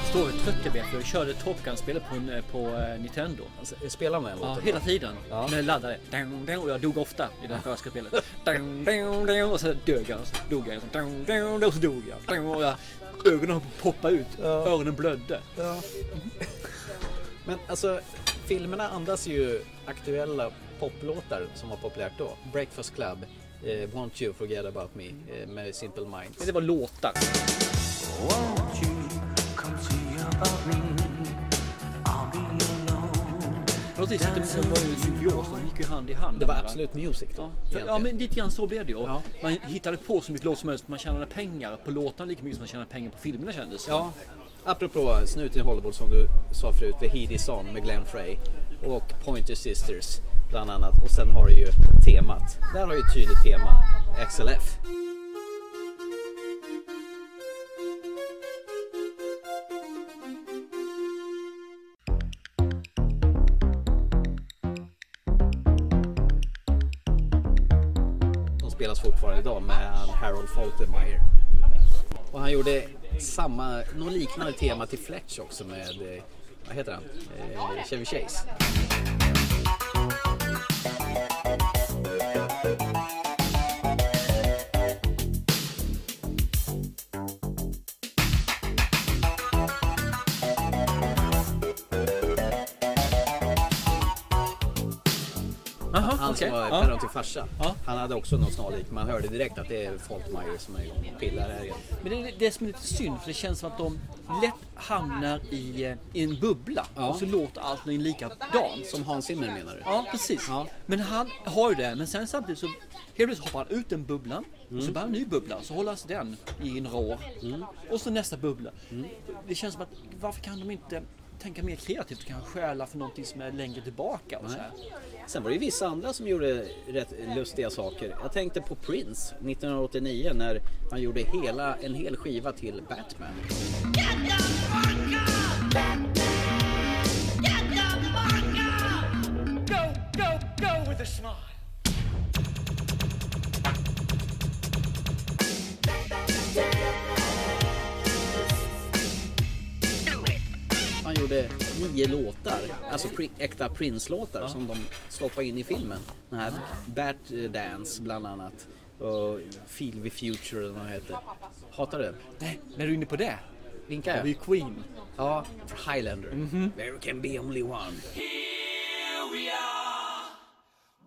Står vi och trycker Ben, för jag körde Top Gun-spelet på, en- på eh, Nintendo. Spelar med den Ja, låten? hela tiden. Ja. När jag laddade. Dang, dang, och jag dog ofta i det första spelet. Dang, dang, dang, och så dog jag. Och så dog jag. Och så, dang, dang, och så dog jag. Dang, och jag ögonen poppade ut. Öronen blödde. Men alltså, filmerna andas ju aktuella poplåtar som var populärt då. Breakfast Club, eh, Won't You Forget About Me eh, med Simple Minds. Det var låtar. Won't you come see about me? I'll be alone. Precis, det var ju symbios. De gick ju hand i hand. Det var va? absolut music då. För- Ja egentligen. men lite grann så blev det ju. Man hittade på så mycket låt som helst. Man tjänade pengar på låtarna lika mycket som man tjänade pengar på filmerna kändes det Ja, apropå snuten i Hollywood som du sa förut, The Heedy Song med Glenn Frey och Pointer Sisters bland annat. Och sen har du ju temat. Där har du ett tydligt tema, XLF. De spelas fortfarande idag med Harold Faltermeyer. Och han gjorde samma, något liknande tema till Fletch också med, eh, vad heter han, eh, Chevy Chase. Han som var päron till farsa. Han hade också något snarlikt. Man hörde direkt att det är Folkmeyer som är igång och pillar här igen. Men det är det som är lite synd för det känns som att de lätt hamnar i, eh, i en bubbla Ja. och så låter allting likadant. Som Hans Zimmer menar du? Ja precis. Men han har ju det men sen samtidigt så helt plötsligt hoppar han ut den bubblan och Mm. så börjar en ny bubbla så hållas den i en rå och så nästa bubbla. Mm. Det känns som att varför kan de inte tänka mer kreativt och kanske stjäla för någonting som är längre tillbaka och så här. Sen var det ju vissa andra som gjorde rätt lustiga saker. Jag tänkte på Prince 1989 när han gjorde hela, en hel skiva till Batman. Go, go, go with a smile. Han gjorde nio låtar, alltså pri- äkta Prince-låtar som de stoppade in i filmen. Den här Bat eh, Dance bland annat och Feel the Future eller vad den heter. Hatar du den? Nej, när du är inne på det. Vinkar Har vi jag? Queen. Ja, för Highlander. Mhm. There can be only one. Here we are,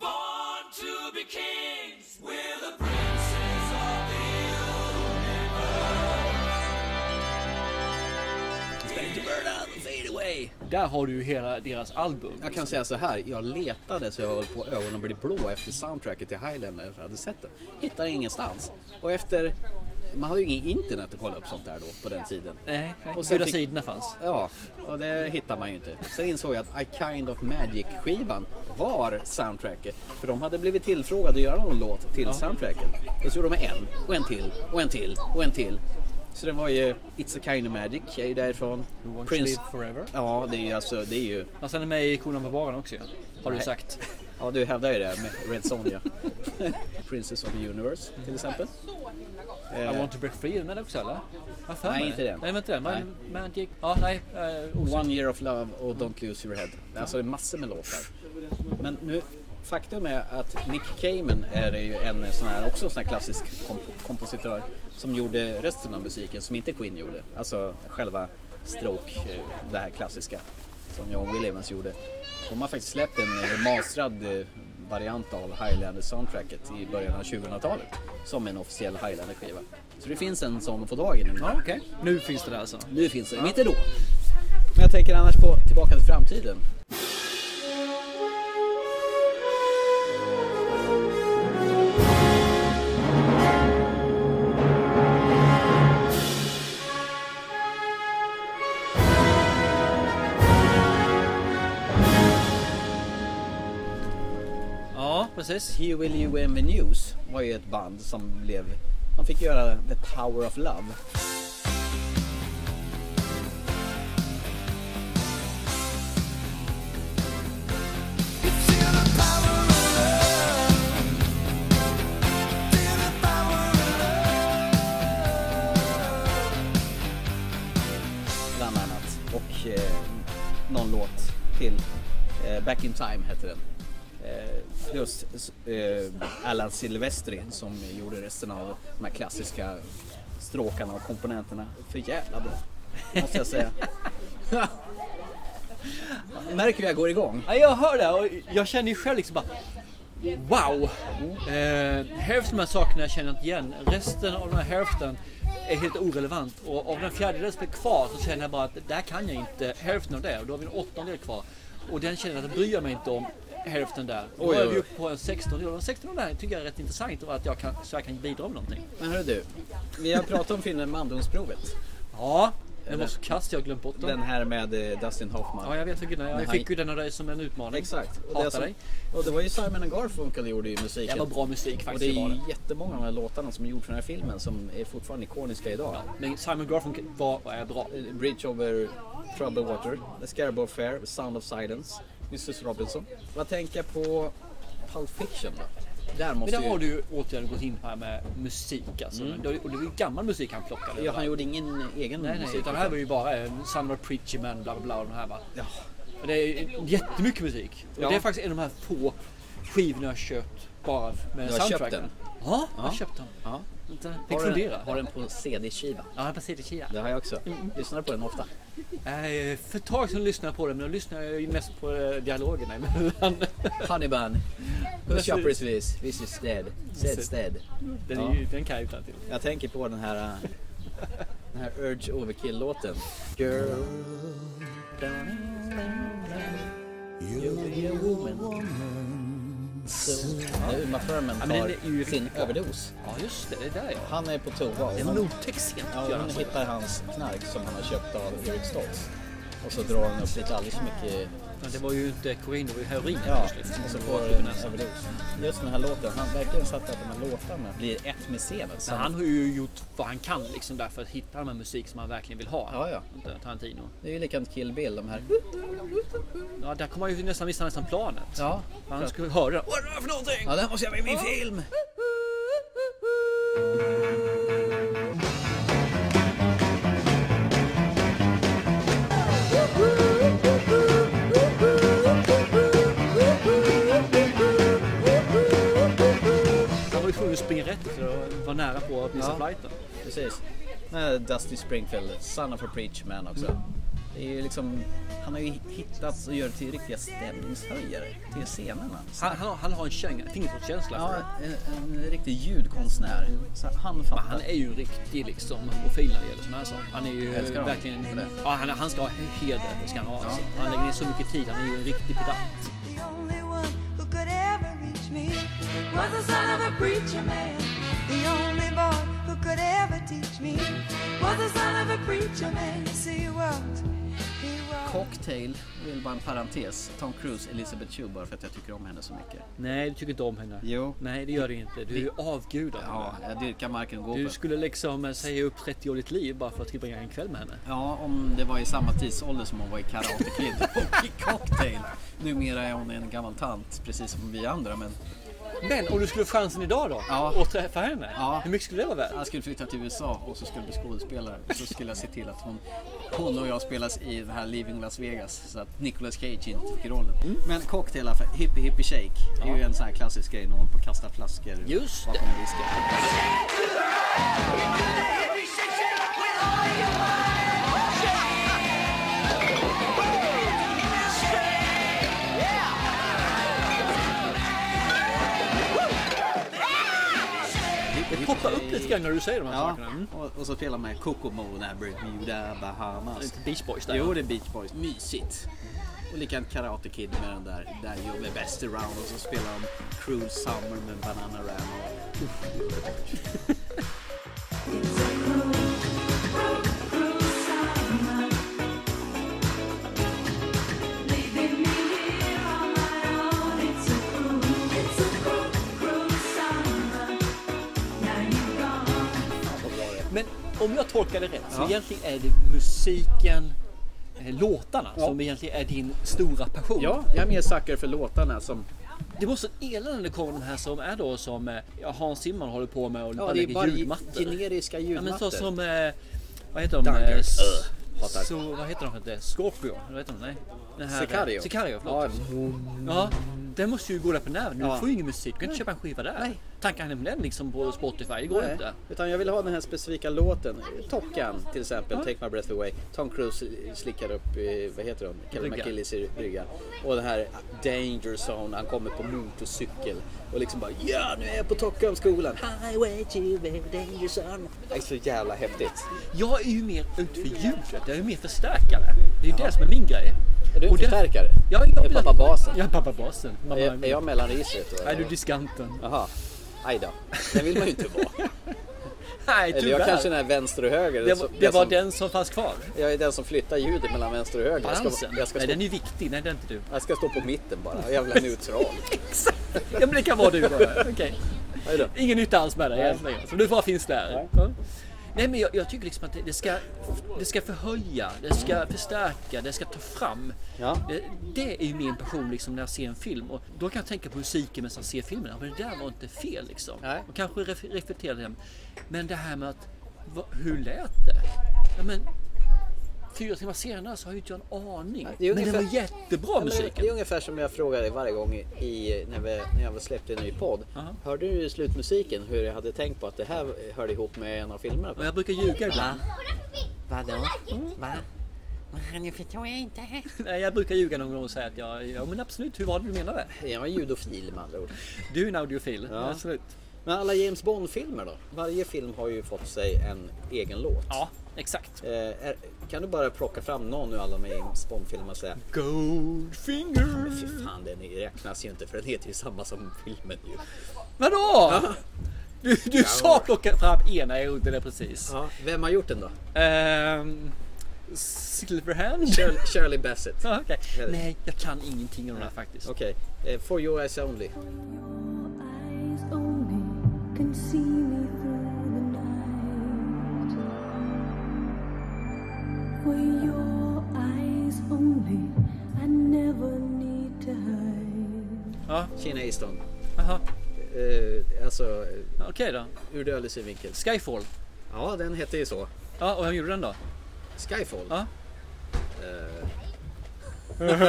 born to be kings. We're the princes of the Expect to burn out and fade away. Där har du ju hela deras album. Jag kan säga så här, jag letade så jag höll på ögonen att bli blå efter soundtracket till Highlander efter jag hade sett den. Hittade ingenstans. Och efter, man hade ju ingen internet att kolla upp sånt där då på den tiden. Nej, Och sen båda fick- sidorna fanns. Ja, och det hittar man ju inte. Sen insåg jag att I Kind of Magic-skivan var soundtracket. För de hade blivit tillfrågade att göra någon låt till soundtracket. Och så gjorde de en, och en till, och en till, och en till. Så det var ju It's a Kind of Magic, är ju därifrån. won't live forever. Ja, det är ju alltså, det är ju... Och sen är med i Konan på baren också ju, Har du ju Nej. sagt. Ja, du hävdar ju det med Red Sonja. Princess of the Universe till exempel. I Eh, want to break free är med också eller? Vad fan Nej, är det? inte den. Nej, vänta den. Nej. Ma- Magic. Ja, nej. eh, osäker. One Year of Love och Don't Lose Your Head. Alltså det är massor med låtar. Men nu faktum är att Nick Cayman är ju en sån här, också en sån här klassisk komp kompositör som gjorde resten av musiken som inte Queen gjorde. Alltså själva stroke, eh, det här klassiska som John Williams gjorde. De har faktiskt släppt en eh, mastrad eh, variant av Highlander-soundtracket i början av 2000-talet som en officiell Highlander-skiva. Så det finns en sån att få tag i nu. Ja, okej. Nu finns det där alltså? Nu finns det, men inte då. Men jag tänker annars på Tillbaka till framtiden. Ja, precis. He Will You Avenues var ju ett band som blev... De fick göra The Power of Love. Bland annat. Och eh, någon låt till. Eh, Back in Time hette den. Eh, plus eh, Alan Silvestri som gjorde resten av de här klassiska stråkarna och komponenterna. För jävla bra, måste jag säga. Märker du hur jag går igång? Ja, jag hör det och jag känner ju själv liksom bara Wow! Eh, hälften av de här sakerna känner jag inte igen. Resten av den här hälften är helt orelevant. Och av den fjärdedel som är kvar så känner jag bara att det här kan jag inte. Hälften av det och då har vi en åttondel kvar. Och den känner jag att jag bryr mig inte om hälften där. Och då Oj, är oj, vi oj. uppe på en sextondel. Och den sextondel där tycker jag är rätt intressant. Och att jag kan, så jag kan bidra med någonting. Men hörru du, vi har pratat om filmen Mandomsprovet. Ja, den var så kass jag har glömt bort den. Den här med eh, Dustin Hoffman. Ja, jag vet vilken det är. Men Jag han- fick ju den av dig som en utmaning. Exakt. Och Hatar det, som, dig. och det var ju Simon and Garfunkel gjorde ju musiken. Det var bra musik Och faktiskt. det det var det. är jättemånga av de här låtarna som är gjorda för den här filmen som är fortfarande ikoniska idag. Men Simon Garfunkel var och är bra. Eh, Bridge over Troubled Water, The Scarabout Fair, Sound of Silence, Mrs Robinson. Vad tänker jag på Pulp Fiction då? Där Men måste där ju... har du ju återigen gått in på här med musik alltså. Mm. Det var ju- Och det var ju gammal musik han plockade. Ja, han va? gjorde ingen egen Nej, nej, musik. utan det här var ju bara en Summer Preacher Man, bla bla bla. Och de här, va? Ja. Och det är ju jättemycket musik. Ja. Och det är faktiskt en av de här få skivorna jag köpt bara med Du har soundtrack. köpt den? Ja, jag har köpt den. Ja. Vänta, Har Fick den- fundera. Har den på CD-skiva? Ja, på CD-skiva. Det har jag också. Mm. Lyssnar du på den ofta? Eh, För ett tag sedan lyssnade jag på det, men då lyssnade jag ju mest på eh, dialogerna emellan. Honey bun. Who's shoppers this? This is dead. Said dead. Den, Ja. är ju, den kan jag utan till. Jag tänker på den här, äh, den här Urge Overkill-låten. Girl. You're a woman. So, när Uma Thurman Ja, men den tar är ju sin riktigt bra. överdos. Ja, just det. Det är där ja. Han är på toa. och Det var hon- en otäck scen. Ja, tycker jag, hon alltså. hittar hans knark som han har köpt av Eric Stoltz. Och så drar han upp lite alldeles för mycket Men det var ju inte kokain, det var ju heroin Ja, till slut. och så Det får var du typ en en näsa. överdos. Just den här låten, han verkligen satt att de här låtarna blir ett med scenen. Så Men han har ju gjort vad han kan liksom där för att hitta den här musik som han verkligen vill ha. Ja, ja. Inte Tarantino. Det är ju likadant Kill Bill, de här... Ja, där kommer han ju nästan missa nästan planet. Ja. Han skulle höra. Vad är det här för någonting? Ja, det här måste jag med i min film! Han var ju tvungen att springa rätt för att vara nära på att missa Ja. flighten. Precis. Den här Dusty Springfield, Son of a Preach Man också. Det är ju liksom, han har ju hittat och gör till riktiga stämningshöjare till scenerna. Han, han, har- han har en känga, fingertoppskänsla. Ja, för det. en, en riktig ljudkonstnär. Så han Men fattar. han är ju en riktig liksom profil när det gäller sådana här saker. Han är ju Jag älskar honom verkligen... för det. Ja, han, han ska ha heder. Det ska han ha. Alltså. Han lägger ner så mycket tid. Han är ju en riktig pedant. The only one who could ever reach me was the son of a preacher man. The only boy who could ever teach me was the son of a preacher man. See he walked, he walked. Cocktail, jag vill bara en parentes. Tom Cruise, Elizabeth Shue bara för att jag tycker om henne så mycket. Nej, du tycker inte om henne. Jo. Nej, det gör du inte. Du är avgudad. Ja, jag dyrkar Eh, marken Du Goldberg. skulle liksom eh, säga upp 30 år ditt liv bara för att tillbringa en kväll med henne. Ja, om det var i samma tidsålder som hon var i Karate Kid och i Cocktail. Numera är hon en gammal tant, precis som vi andra. Men Men om du skulle få chansen idag då? Ja. Och träffa henne? Hur mycket skulle det vara värt? Jag skulle flytta till USA och så skulle jag bli skådespelare. Och så skulle jag se till att hon, hon och jag spelas i det här Leaving Las Vegas. Så att Nicolas Cage inte fick rollen. Men cocktail i alla fall. Hippie Hippie Shake. Det är ju en sån här klassisk grej när hon på kastar flaskor Just bakom en diska. Det poppar upp lite grann när du säger de här Ja, sakerna. Mm. och, och så spelar man Kokomo, den här Bermuda, Bahamas. Inte Beach Boys där, Jo, va? det är Beach Boys. Mysigt. Och likadant Karate Kid med den där, där you med best around och så spelar de Cruel Summer med Banana Ram. Och, uff, det är underbart. Men om jag tolkar det rätt så Ja. egentligen är det musiken, eh, låtarna som egentligen är din stora passion. Ja, jag är mer sucker för låtarna som... Det var så elände det kom de här som är då som eh, ja, Hans Zimmer håller på med och Ja, bara det är lägger bara ge- ljudmattor. generiska Ja, men så ljudmattor. som, eh, vad heter de? Dunkirk. Eh, s- Öh, hatar. så, vad heter de? inte? Scorpio? Vad heter de? Nej. Den här, eh, Sicario. Sicario, förlåt. Ja, den måste ju gå där på nerven. Du Ja. får ju ingen musik. Du kan inte köpa en skiva där. Nej. Tankeanlämnen liksom på Spotify, det går Nej, inte. Utan jag vill ha den här specifika låten. Top Gun till exempel, Take My Breath Away. Tom Cruise slickar upp, eh, vad heter de, Kevin Brygga. McKillis brygga. Och det här Danger Zone, han kommer på motorcykel. Och liksom bara ja, nu är jag på Top Gun-skolan. Highway to the Danger Zone. Det är så jävla häftigt. Jag är ju mer ut för ljudet, jag är ju mer förstärkare. Det är ju det som är min grej. Är du en Och det- förstärkare? Ja, jag Är vill- pappa basen? Jag är pappa basen. Mamma Är, är jag mellanregistret då? Är du eller? diskanten? Jaha. Aj då. Den vill man ju inte vara. Nej, Eller jag tyvärr. kanske är den här vänster och höger. det, som- var, det var som- den som fanns kvar. Jag är den som flyttar ljudet mellan vänster och höger. Jag ska- Balansen. jag ska Nej, stå- den är ju viktig. Nej, det är inte du. Jag ska stå på mitten bara, jävla neutral. Exakt! Ja, men det kan vara du då. Okej. Hej då. Ingen nytta alls med dig Nej. än så länge. Så du bara finns där. Nej. Ja. Nej, men jag, jag tycker liksom att det, det, ska, det ska förhöja, det ska förstärka, det ska ta fram. Ja. Det, det är ju min passion liksom när jag ser en film. Och då kan jag tänka på musiken medan jag ser filmen. Ja, Men det där var inte fel liksom. Nej. Och kanske ref- reflektera den. Men det här med att, vad, hur lät det? Ja, men, fyra timmar senare så har ju inte jag en aning. det är Men den ungefär- var jättebra Ja, men det- musiken. Det är ungefär som jag frågar dig varje gång i- i, när, vi, när jag släppte en ny podd. Aha. Hörde du i slutmusiken hur jag hade tänkt på att det här hörde ihop med en av filmerna? Och jag brukar ljuga ibland. Vadå? Va? Nej, jag brukar ljuga någon gång och säga att jag, ja men absolut, hur var det du menade? Jag är judofil med andra ord. Du är en audiofil, Ja. absolut. Men alla James Bond-filmer då? Varje film har ju fått sig en egen låt. Ja, exakt. Eh, är, kan du bara plocka fram någon ur alla med James Bond-filmer och säga Goldfinger! Fy fan, den räknas ju inte för den heter ju samma som filmen ju. Vadå? Du, du sa plocka fram ena, jag gjorde det precis. Vem har gjort den då? Ehm, Silverhand? Shirley, Shirley Bassett. Ja, okej. Eller- Nej, jag kan ingenting om det här faktiskt. Okej, eh, For your eyes only. Eyes only can see me through the night. For your eyes only, I never need to hide. Kina Easton. Jaha, Eh, alltså, eh, okej då. ur dödlig synvinkel. Skyfall. Ja, den hette ju så. Ja, och vem gjorde den då? Skyfall. Ja.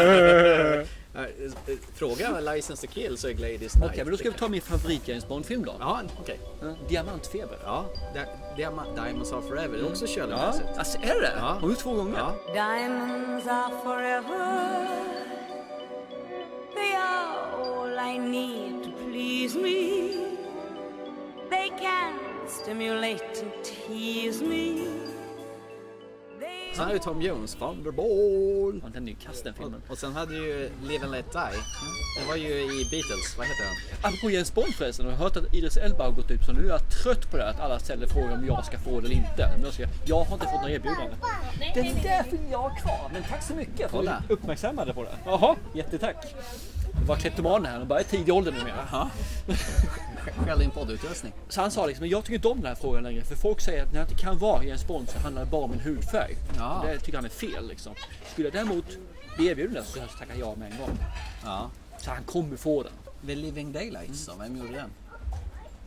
Eh, eh, Fråga License to kill så är Gladys Knight. Okej, men då ska vi ta min favorit James Bond-film då. Ja, okej. Ja, Diamantfeber. Ja, Di- Diam- Diamonds are forever. Det är också Shirley Ja, Bassett. alltså är det? Ja. Har du två gånger? Ja. Diamonds are forever. They are all I need to please me. They can stimulate and tease me. They Sen har ju Tom Jones, Thunderbolt. Ja, Den är ju kass den filmen. Och sen hade ju Live and Let Die. Det var ju i Beatles, vad heter han? Apropå Jens Bond förresten, har jag hört att Idris Elba har gått ut så nu är jag trött på det här att alla ställer frågor om jag ska få det eller inte. Men jag, ska, jag har inte fått några erbjudanden. Den där vill jag ha kvar, men tack så mycket för Kolla. att du uppmärksammade på det. Jaha, jättetack. Det var kleptomanen här, de börjar i tidig ålder numera. Skäll din poddutrustning. Så han sa liksom, jag tycker inte om den här frågan längre för folk säger att när jag inte kan vara Jens Bond så handlar det bara om min hudfärg. Ja. Det tycker han är fel liksom. Skulle jag däremot bli erbjuden den så skulle jag tacka ja med en gång. Ja. Så han kommer få den. The Living Daylights då? Vem gjorde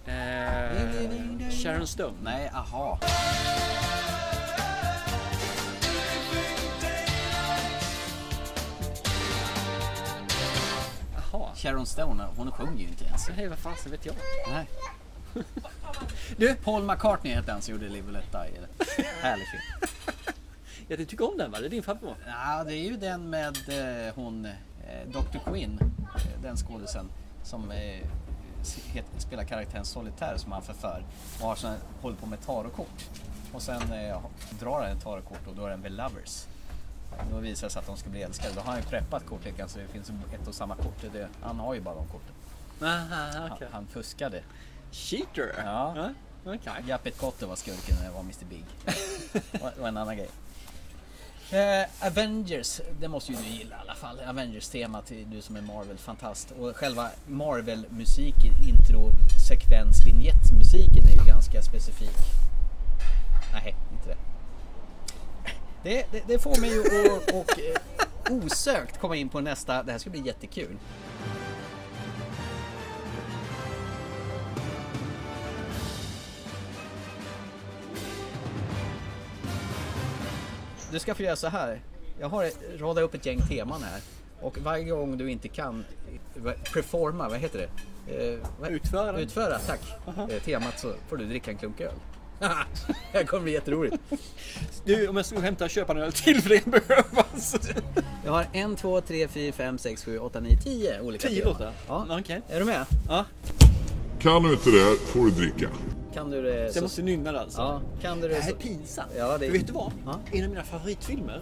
den? Eh, Sharon Stone. Nej, aha. Aha. Sharon Stone, hon sjunger ju inte ens. Nej, vad fasen vet jag? Nej. Du, Paul McCartney hette han som gjorde Live and Let Die. Härlig film. Ja, du tycker om den va? Det är din favorit. Ja, det är ju den med eh, hon, eh, Dr. Quinn, eh, den skådisen som eh, s- het- spelar karaktären Solitär som han förför och har sån, håller på med tarotkort. Och sen eh, drar han ett tarotkort och då är den väl lovers. Då visar det sig att de ska bli älskade. Då har han ju preppat kortleken så det finns ett och samma kort. Det, han har ju bara de korten. Aha, Han, okej. han fuskade. Cheater? Ja. Okay. Japet Kotte var skurken när det var Mr Big. Det var en annan grej. Eh, Avengers, det måste ju du gilla i alla fall. Avengers-temat, du som är Marvel-fantast. Och själva Marvel-musiken, introsekvens, vignettmusiken är ju ganska specifik. Nej, inte det. Det, det, det får mig ju att och, eh, osökt komma in på nästa, det här ska bli jättekul. Du ska få göra så här. Jag har radat upp ett gäng teman här. Och varje gång du inte kan eh, performa, vad heter det? Eh, vad- Utföra. Utföra, tack. Eh, temat så får du dricka en klunk öl. det här kommer bli jätteroligt. Du, om jag skulle hämta köpa en öl till för det behövs. Jag har en, två, tre, fyra, fem, sex, sju, åtta, nio, tio olika Tio teman. låtar? Ja. Okej. Är du med? Ja. Kan du inte det här får du dricka. Kan du det? Så jag måste nynna det alltså? Ja, kan du det? Det här är så- pinsamt. Ja, det... Men Vet du vad? Ja. En av mina favoritfilmer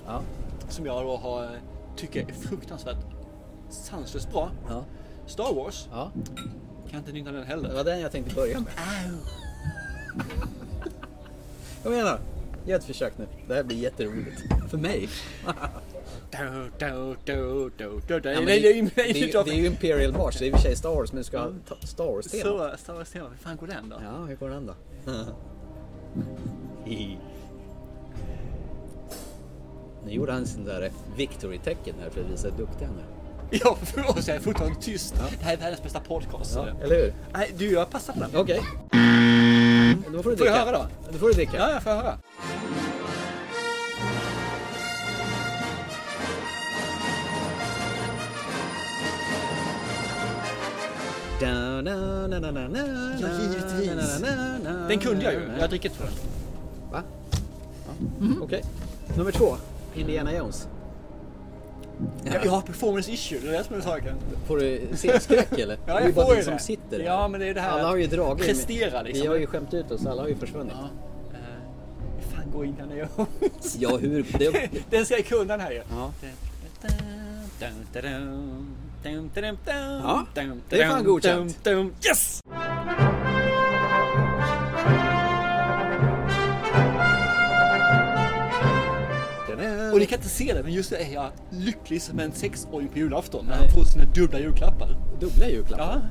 som jag då har, tycker är fruktansvärt sanslöst bra. Star Wars. Kan inte nynna den heller. Det var den jag tänkte börja med. Kom igen då. Gör ett försök nu. Det här blir jätteroligt. För mig. Do, do, do, do, do, do. Ja, men Nej, det, det är ju- det, är ju- det är ju Imperial March, det är i och för sig Star Wars, men du ska ha ta- Star Wars-tema. Så, Star Wars-tema. Hur fan går den då? Ja, hur går den då? nu gjorde han sin där victory-tecken här för att visa hur duktig han är. Ja, för oss är jag fortfarande tyst. Det här är världens bästa podcast. Ja, eller hur? Nej, du, jag passar på den. Okej. Då får du Mm. Får jag dricka. höra Då får du dricka. Ja, jag får höra. Da, na, na, na, na, na, Ja, na, givetvis. na, na, na, na, Den kunde jag ju. na, Jag na. har drickit för den. Va? Mm. Okej. Nummer två. Indiana Jones. Jag, jag har performance issue, det är det som är saken. Får du scenskräck eller? Ja, det är jag ju bara får du ju som det. sitter där. Ja, men det är det här Alla har ju att dragit. prestera, liksom. Vi har ju skämt ut oss. Alla har ju försvunnit. Eh, Hur fan går in den Jones? Ja, hur- det- Den ska jag kunna den här ju. Ja. Dun, dun, dun, dun, dun, dun, Ja, dun, det är fan dun, godkänt. dun, dun. Yes! Och ni kan inte se det, men just nu är jag lycklig som en sexåring på julafton när han får sina dubbla julklappar. Dubbla julklappar?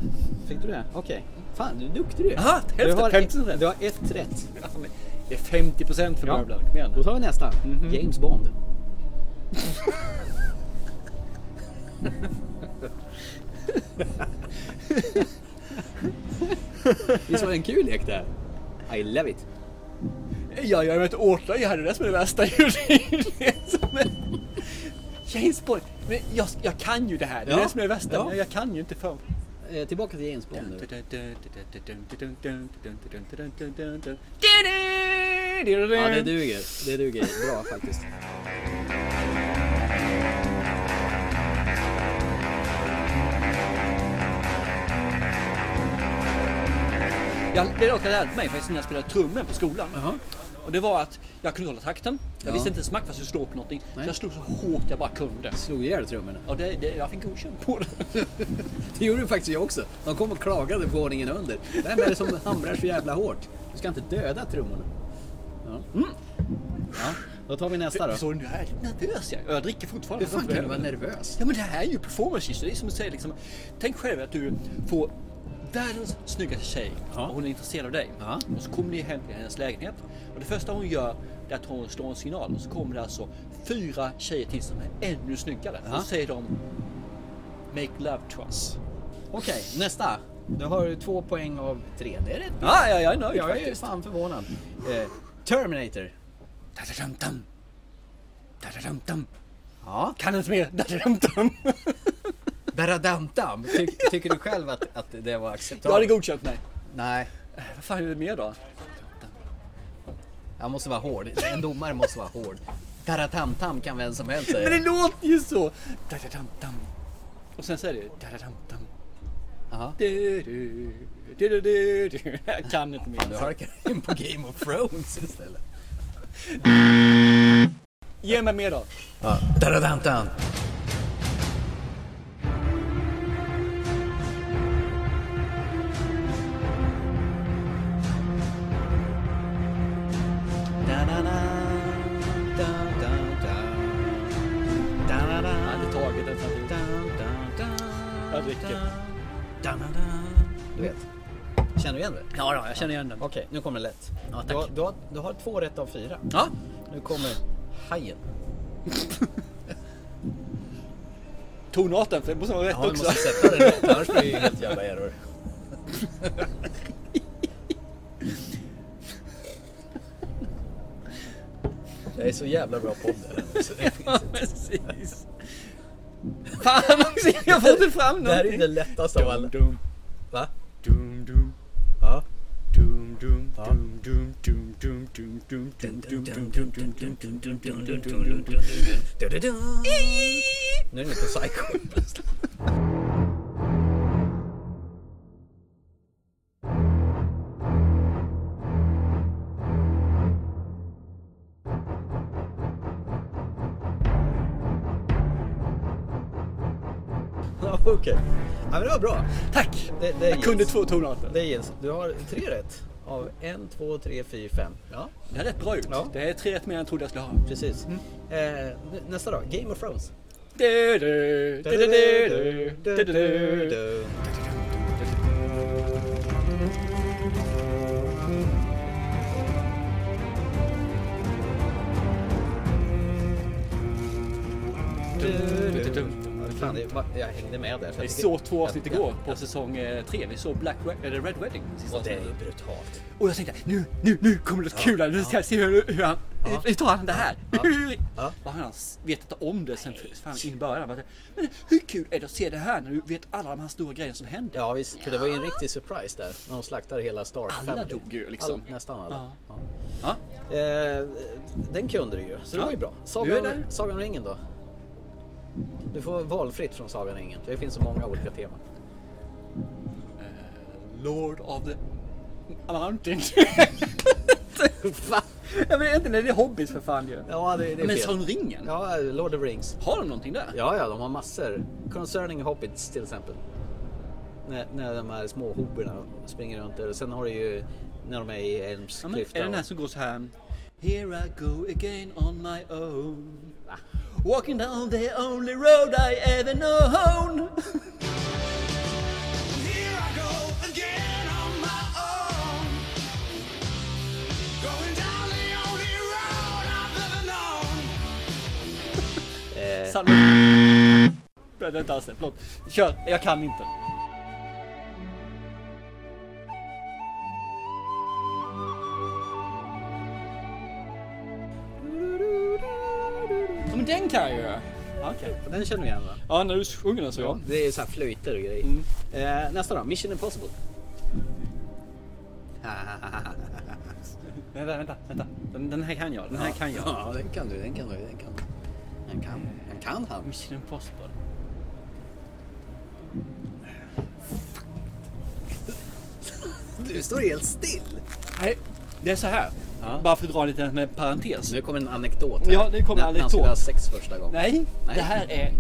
Fick du det? Okej. Fan, du är duktig du är. Aha, du, har hälften, hälften ett, du har ett rätt. Ja, men Det är 50 procent för Ja. ja. Kom igen Då Mhm. tar vi nästa. James Bond. Visst var det en kul lek det här? I love it. Ja, jag är ett årtal jag hade det som är det värsta men, James Bond. Men jag, jag kan ju det här. Det är Ja. det som är det värsta. Ja. Men jag kan ju inte för. Eh, tillbaka till James Bond nu. Ja, det duger. Det duger bra faktiskt. Jag, det är något jag lärde mig faktiskt när jag spelade trummor på skolan. Och det var att jag kunde hålla takten. Jag Ja. visste inte smack vad jag skulle slå på någonting. Nej. Så jag slog så hårt jag bara kunde. Slog ihjäl trummorna. Och det, det, jag fick godkänt på det. Det gjorde faktiskt jag också. De kom och klagade på ordningen under. Vem är det som hamrar så jävla hårt? Du ska inte döda trummorna. Ja. Ja, då tar vi nästa då. Så nu är jag nervös jag. Och jag dricker fortfarande. Hur fan kan du vara nervös? Ja men det här är ju performance issue. Det är som att säga liksom. Tänk själv att du får världens snyggaste tjej och hon är intresserad av dig. Och så kommer ni hem till hennes lägenhet. Och det första hon gör det är att hon slår en signal och så kommer det alltså fyra tjejer till som är ännu snyggare. Och så säger de Make love to us. Okej, nästa. Du har två poäng av tre. Det är rätt bra. Ja, ja, jag är nöjd Jag är faktiskt. fan förvånad. Eh, Terminator. Da-da-dum-dum. Da-da-dum-dum. Ja. Kan inte mer. Da-da-dum-dum. Baradamtam. Ty, tycker du själv att, att det var acceptabelt? Jag hade godkänt mig. Nej, Eh, Vad fan är det mer då? jag måste vara hård. En domare måste vara hård. Taratamtam kan vem som helst Men det säga. låter ju så! Da-da-dum-dum. Och sen så är det ju da-da-dum-dum. Jaha. Du-du, du-du-du-du. Jag kan inte Du mer. harkar in på Game of Thrones istället. Ge mig mer då. Ja. Taratamtam. Jag hade tagit den faktiskt. Jag dricker. Du vet. Känner du igen det? Ja, då, jag känner igen den. Okej, nu kommer det lätt. Ja, du, tack. har, du, har, du har två rätt av fyra. Ja, Nu kommer hajen. tonarten, för det måste vara rätt Ja, du också. måste sätta den rätt, annars blir det ju helt jävla error. Jag är så jävla bra på Ja, precis. Fan också, jag får inte fram Det här är någonting. ju det lättaste av alla. Dum, Va? dum, dum, Ja. dum, dum, Ja. dum, dum, dum, dum, dum, dum, dum, dum, dum, dum, dum, dum, dum, dum, dum, dum, dum, dum, dum. Nu är ni på psycho. Ja, Okej. Ja, men det var bra. Tack! Det, det Jag gills. kunde två tonarter. Det gills. Du har tre rätt. Av en, två, tre, fyra, fem. Ja, Det är rätt bra gjort. Ja. Det är tre rätt mer än jag trodde jag skulle ha. precis. Eh, n- nästa då. Game of Thrones. Du, du, du, du, du, du, du, du. du, du, du. Fan, det var, jag hängde med där. Vi såg två avsnitt igår på säsong eh, tre. Vi såg Black Red, eller Red Wedding. sista Och det är avsnittet. ju brutalt. Och jag tänkte nu, nu, nu kommer det något kul här. Nu ska jag se hur, hur han, Ja. hur tar han det här? Hur, Ja. Vad han s- vet inte om det sen fan in i början. Bara, Men hur kul är det att se det här när du vet alla de här stora grejerna som händer? Ja visst, för det var ju en riktig surprise där. När de slaktade hela Star Alla Family. dog ju, liksom. All, nästan alla. Ja. Ja. Eh, den kunde du ju, så det Ja. var ju bra. Nu är Sagan, det. Sagan om ringen då? Du får valfritt från Sagan om ringen. för Det finns så många olika teman. Lord of the Mountain. Jag vet inte, det är hobbits för fan ju. Ja, det, det är Men fel. Sagan om ringen? Ja, Lord of the Rings. Har de någonting där? Ja, ja, de har massor. Concerning Hobbits till exempel. När, när de här små hobberna springer runt där. Och sen har du ju när de är i Elms Ja, men, är klyfta. det den här och- som går så här? Here I go again on my own Walking down the only road I ever known Here I go again on my own. Going down the only road I've ever known. Eh. Sanna- Nej, Vänta alls det, förlåt. Kör, jag kan inte. Ja, men den kan jag ju. Ja, Okej. Den känner vi igen va? Ja, när du sjunger den så ja. Det är så här flöjter och grejer. Eh, nästa då, Mission Impossible. Vänta, vänta, vänta. Den, den här kan jag, den här kan jag. Ja, den kan du, den kan du, den kan du. Den kan, den kan han. Mission Impossible. Du står helt still. Nej, det är så här. Bara för att dra en liten med parentes. Nu kommer en anekdot. Ja, nu kommer När- en När han skulle ha anekdot. sex första gången. Nej, Nej. det här är...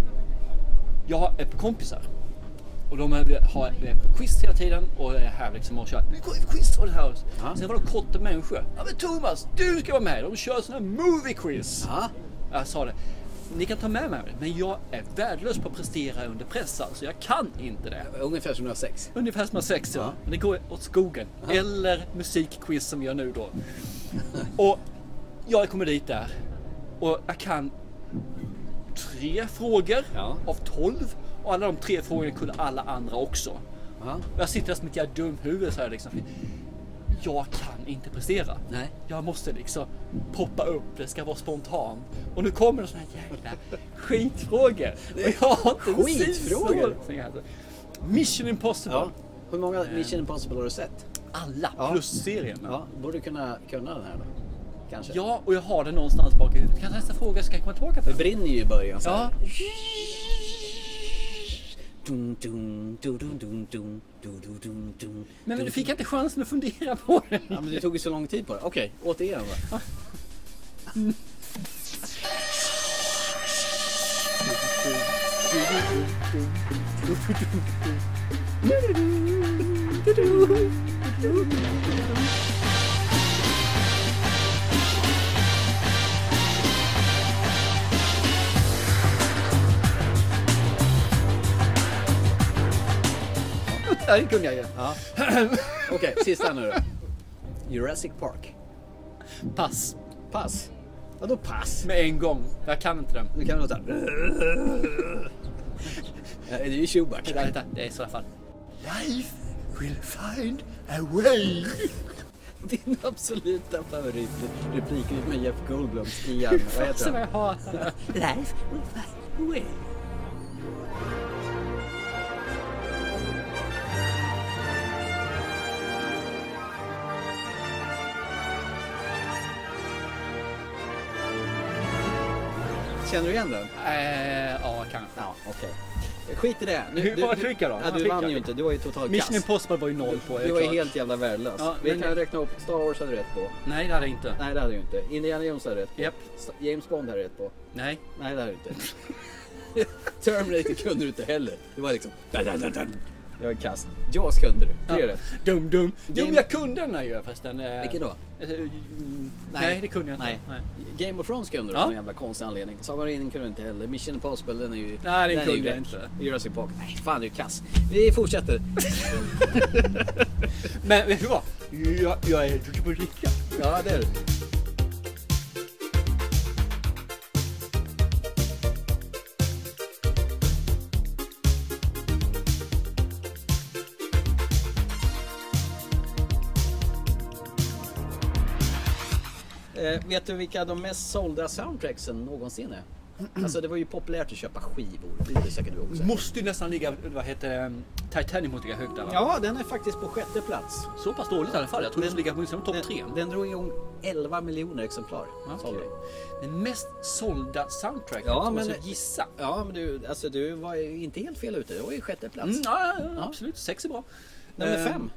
Jag har ett par kompisar. Och de är- har är på quiz hela tiden och är här liksom och kör. Nu går vi på quiz och det här. Ja. Sen var det korta människor. Ja men Thomas, du ska vara med. De kör sådana här movie quiz. Ja, Jag sa det. Ni kan ta med mig men jag är värdelös på att prestera under press alltså. Jag kan inte det. ungefär som du har sex. Ungefär som jag sex ja. Men det går åt skogen. Eller musikquiz som jag nu då. och jag kommer dit där. Och jag kan tre frågor Ja. av tolv. Och alla de tre frågorna kunde alla andra också. Och jag sitter där som ett jävla dumhuvud så här liksom. Jag kan inte prestera. Nej. Jag måste liksom poppa upp, det ska vara spontant. Och nu kommer det såna här jävla skitfrågor. Och jag har inte en Skitfrågor? susning om det här. Mission Impossible. Ja. Hur många Mission Impossible har du sett? Alla plus serien. Ja, borde du kunna, kunna den här då? Kanske? Ja, och jag har det någonstans bak i huvudet. Kan nästa fråga ska jag komma tillbaka till? Det brinner ju i början. Så här. Ja. Dun, dun, dun, dun, dun, dun, dun, dun, dun, dun. Men du fick inte chansen att fundera på det. Ja, men det tog ju så lång tid på det. Okej, återigen va. Ja, det kunde jag ju. Ja. Okej, sista nu då. Jurassic Park. Pass. Pass. Vadå pass? Med en gång. Jag kan inte den. Nu kan vi låta... Ja, Det är ju Chewbacca. Vänta, vänta. Det är i sådana fall. Life will find a way. Din absoluta favoritreplik är med Jeff Goldblum i Vad heter Som jag han? hatar. det. Life will find a way. Känner du igen den? Eh, ja, kanske. Ja, okej. Skit i det. Nu, Hur var trycka då? Ja, Han du fick vann jag. ju inte. Du var ju totalt Mission kass. Impossible var ju noll på. är Du var ju klart. helt jävla värdelös. Ja, Vi men- kan räkna upp. Star Wars hade du rätt på. Nej, det hade jag inte. Nej, det hade du inte. Indiana Jones hade du rätt på. Japp. S- James Bond hade du rätt på. Nej. Nej, det hade du inte. Terminator kunde du inte heller. Det var liksom... dun, dun, dun, dun. Jag är kass. Jaws kunde du. Det är rätt. Dum, dum. Jo, Game- jag kunde den här ju förresten. Eh, Vilken då? eh, mm, Nej, det kunde jag inte. Nej. Nej. Game of Thrones kunde du Ja. av någon jävla konstig anledning. Sagan om ringen kunde du inte heller. Mission Impossible den är ju... är Nej, den ju kunde jag väck. inte. Jurassic Park. Nej, fan du är kass. Vi fortsätter. Men vet du vad? Jag, jag är duktig på att dricka. Ja, det är det. Eh, vet du vilka de mest sålda soundtracksen någonsin är? Alltså det var ju populärt att köpa skivor. Det gjorde säkert du också. Måste ju nästan ligga, vad heter det, mm, Titanic måste ligga högt där va? Ja, den är faktiskt på sjätte plats. Så pass dåligt i alla fall. Jag trodde det Den- skulle ligga på åtminstone topp Den, tre. den drog igång 11 miljoner exemplar. Okej. sålde den. Den mest sålda soundtracket, Ja, ja, men- men... gissa. Ja, men du, alltså, du var ju inte helt fel ute. Du var ju sjätte plats. Mm, ja, ja, ja, absolut. Sex är bra. Nummer Eh, fem.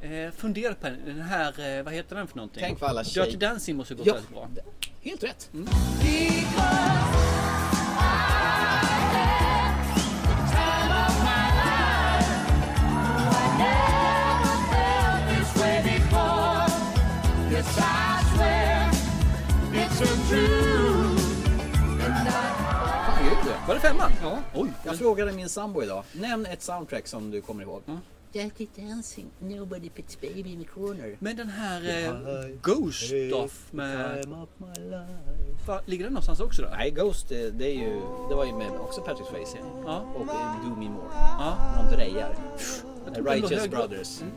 Eh, fundera på den. den här, eh, vad heter den för någonting? Tänk på alla tjej- Dirty Dancing måste ju gått Ja. väldigt bra. Helt rätt. Mm. Fan, gud. Var det femman? Ja. Oj. Jag frågade min sambo idag. Nämn ett soundtrack som du kommer ihåg. Mm. Dirty Dancing, Nobody Puts Baby in the Corner. Men den här eh, Ghost of med... Fan, ligger den någonstans också då? Nej, Ghost eh, det, är ju, det var ju med också Patrick Swayze Ja. och eh, Do Me More. Ja. De drejar. tror det låg Righteous hög- Brothers. Mm.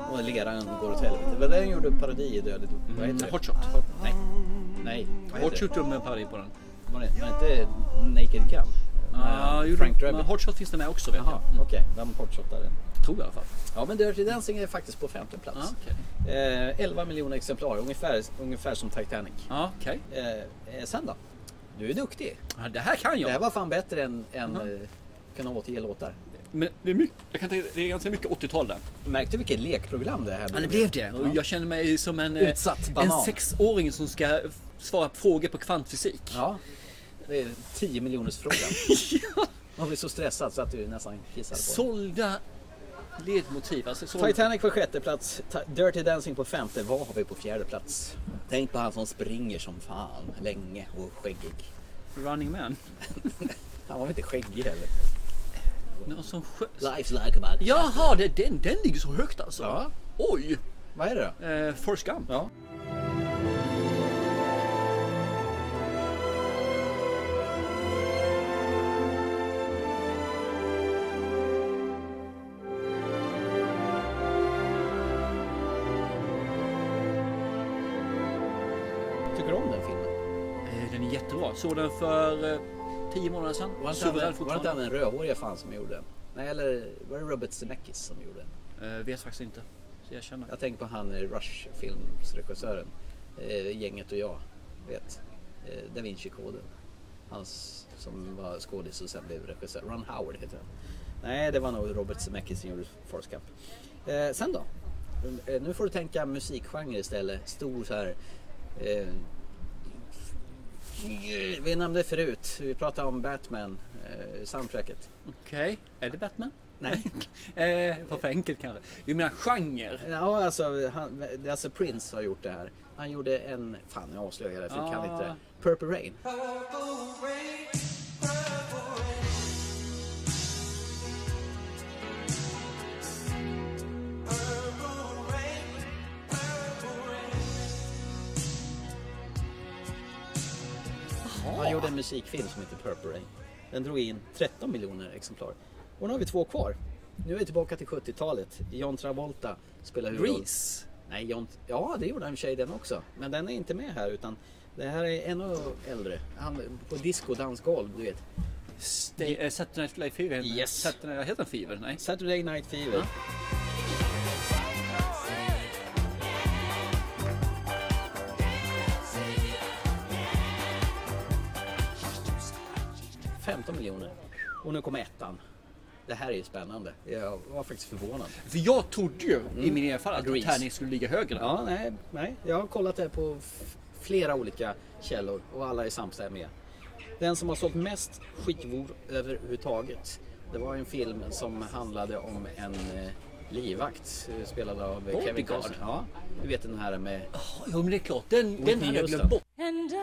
Och leran går åt helvete. Det var där de gjorde parodi i Dödligt. Vad heter det? Hot Mm. Shot. Hot- Nej. Nej. vad heter Hot Shot med en parodi på den. det? Var det var det inte Naked Gun? Ja, Med jo, Frank men Drebin. Hot Shot finns det med också vet Jaha, jag. Mm. okej. De hotshotade. Tror jag i alla fall. Ja, men Dirty Dancing är faktiskt på femte plats. Ja, okej. Eh, 11 miljoner exemplar, ungefär, ungefär som Titanic. Ja, Ah, okej. Eh, eh, sen då? Du är duktig. Ja, det här kan Det här jag. var fan bättre än, än eh, kunna återge låtar. Men det är, mycket, jag kan tänka, det är ganska mycket 80-tal där. Märkte du vilket lekprogram det här Ja, det blev det. Och jag känner mig som en, eh, Utsatt en banan. sexåring som ska f- svara på frågor på kvantfysik. Ja, det är 10 miljoners frågan. Man blir så stressad så att du nästan kissar på den. Sålda ledmotiv. Alltså, sålda. Titanic på sjätte plats, Ta- Dirty Dancing på femte. Vad har vi på fjärde plats? Tänk på han som springer som fan länge och skäggig. Running Man. Han var väl inte skäggig heller. Någon som sjö... Life's like a body. Jaha, det, den, den ligger så högt alltså? Ja. Oj! Vad är det då? Eh, Forrest Gump. Ja. om den filmen? Eh, Den är jättebra. Såg den för eh, tio månader sedan. Var det inte Suverän även- var det inte fortfarande. även den rödhåriga fan som gjorde den? Nej, eller var det Robert Zemeckis som gjorde den? Jag Eh, vet faktiskt inte. Så jag känner. Jag tänker på han eh, Rush-filmsregissören. Eh, gänget och jag. Vet. Eh, da Vinci-koden. Han s- som var skådis och sen blev regissör. Ron Howard heter han. Nej, det var nog Robert Zemeckis som gjorde Forrest Gump. Eh, sen då? Eh, nu får du tänka musikgenre istället. Stor så här... Eh, vi nämnde förut, vi pratade om Batman, eh, soundtracket. Okej, är det Batman? Nej. eh, vad för enkelt kanske. Du menar genre? Ja, alltså, han, alltså Prince har gjort det här. Han gjorde en, fan jag avslöjar det för jag kan Ah. inte det. Purple Rain. Han gjorde en musikfilm som heter Purple Rain. Den drog in 13 miljoner exemplar. Och nu har vi två kvar. Nu är vi tillbaka till 70-talet. John Travolta spelar huvudroll. Grease. Nej, John... Ja, det gjorde han i och för sig den också. Men den är inte med här utan det här är ännu äldre. Han på disco, dansgolv, du vet. Stay, eh, Saturday Night Live Fever? Yes. Saturday, heter den Fever? Nej. Saturday Night Fever. Thank 15 miljoner. Och nu kommer ettan. Det här är ju spännande. Jag var faktiskt förvånad. För jag trodde ju i Mm. min erfarenhet att Grease. tärningen skulle ligga högre. Ja, nej, nej. Jag har kollat det här på f- flera olika källor och alla är samstämmiga. Den som har sålt mest skivor överhuvudtaget. Det var en film som handlade om en eh, livvakt eh, spelad av eh, Kevin Bodyguard. Costner. Ja, du vet den här med... Jo, men det är klart. Den, Whitney den hade jag Houston. glömt bort. And I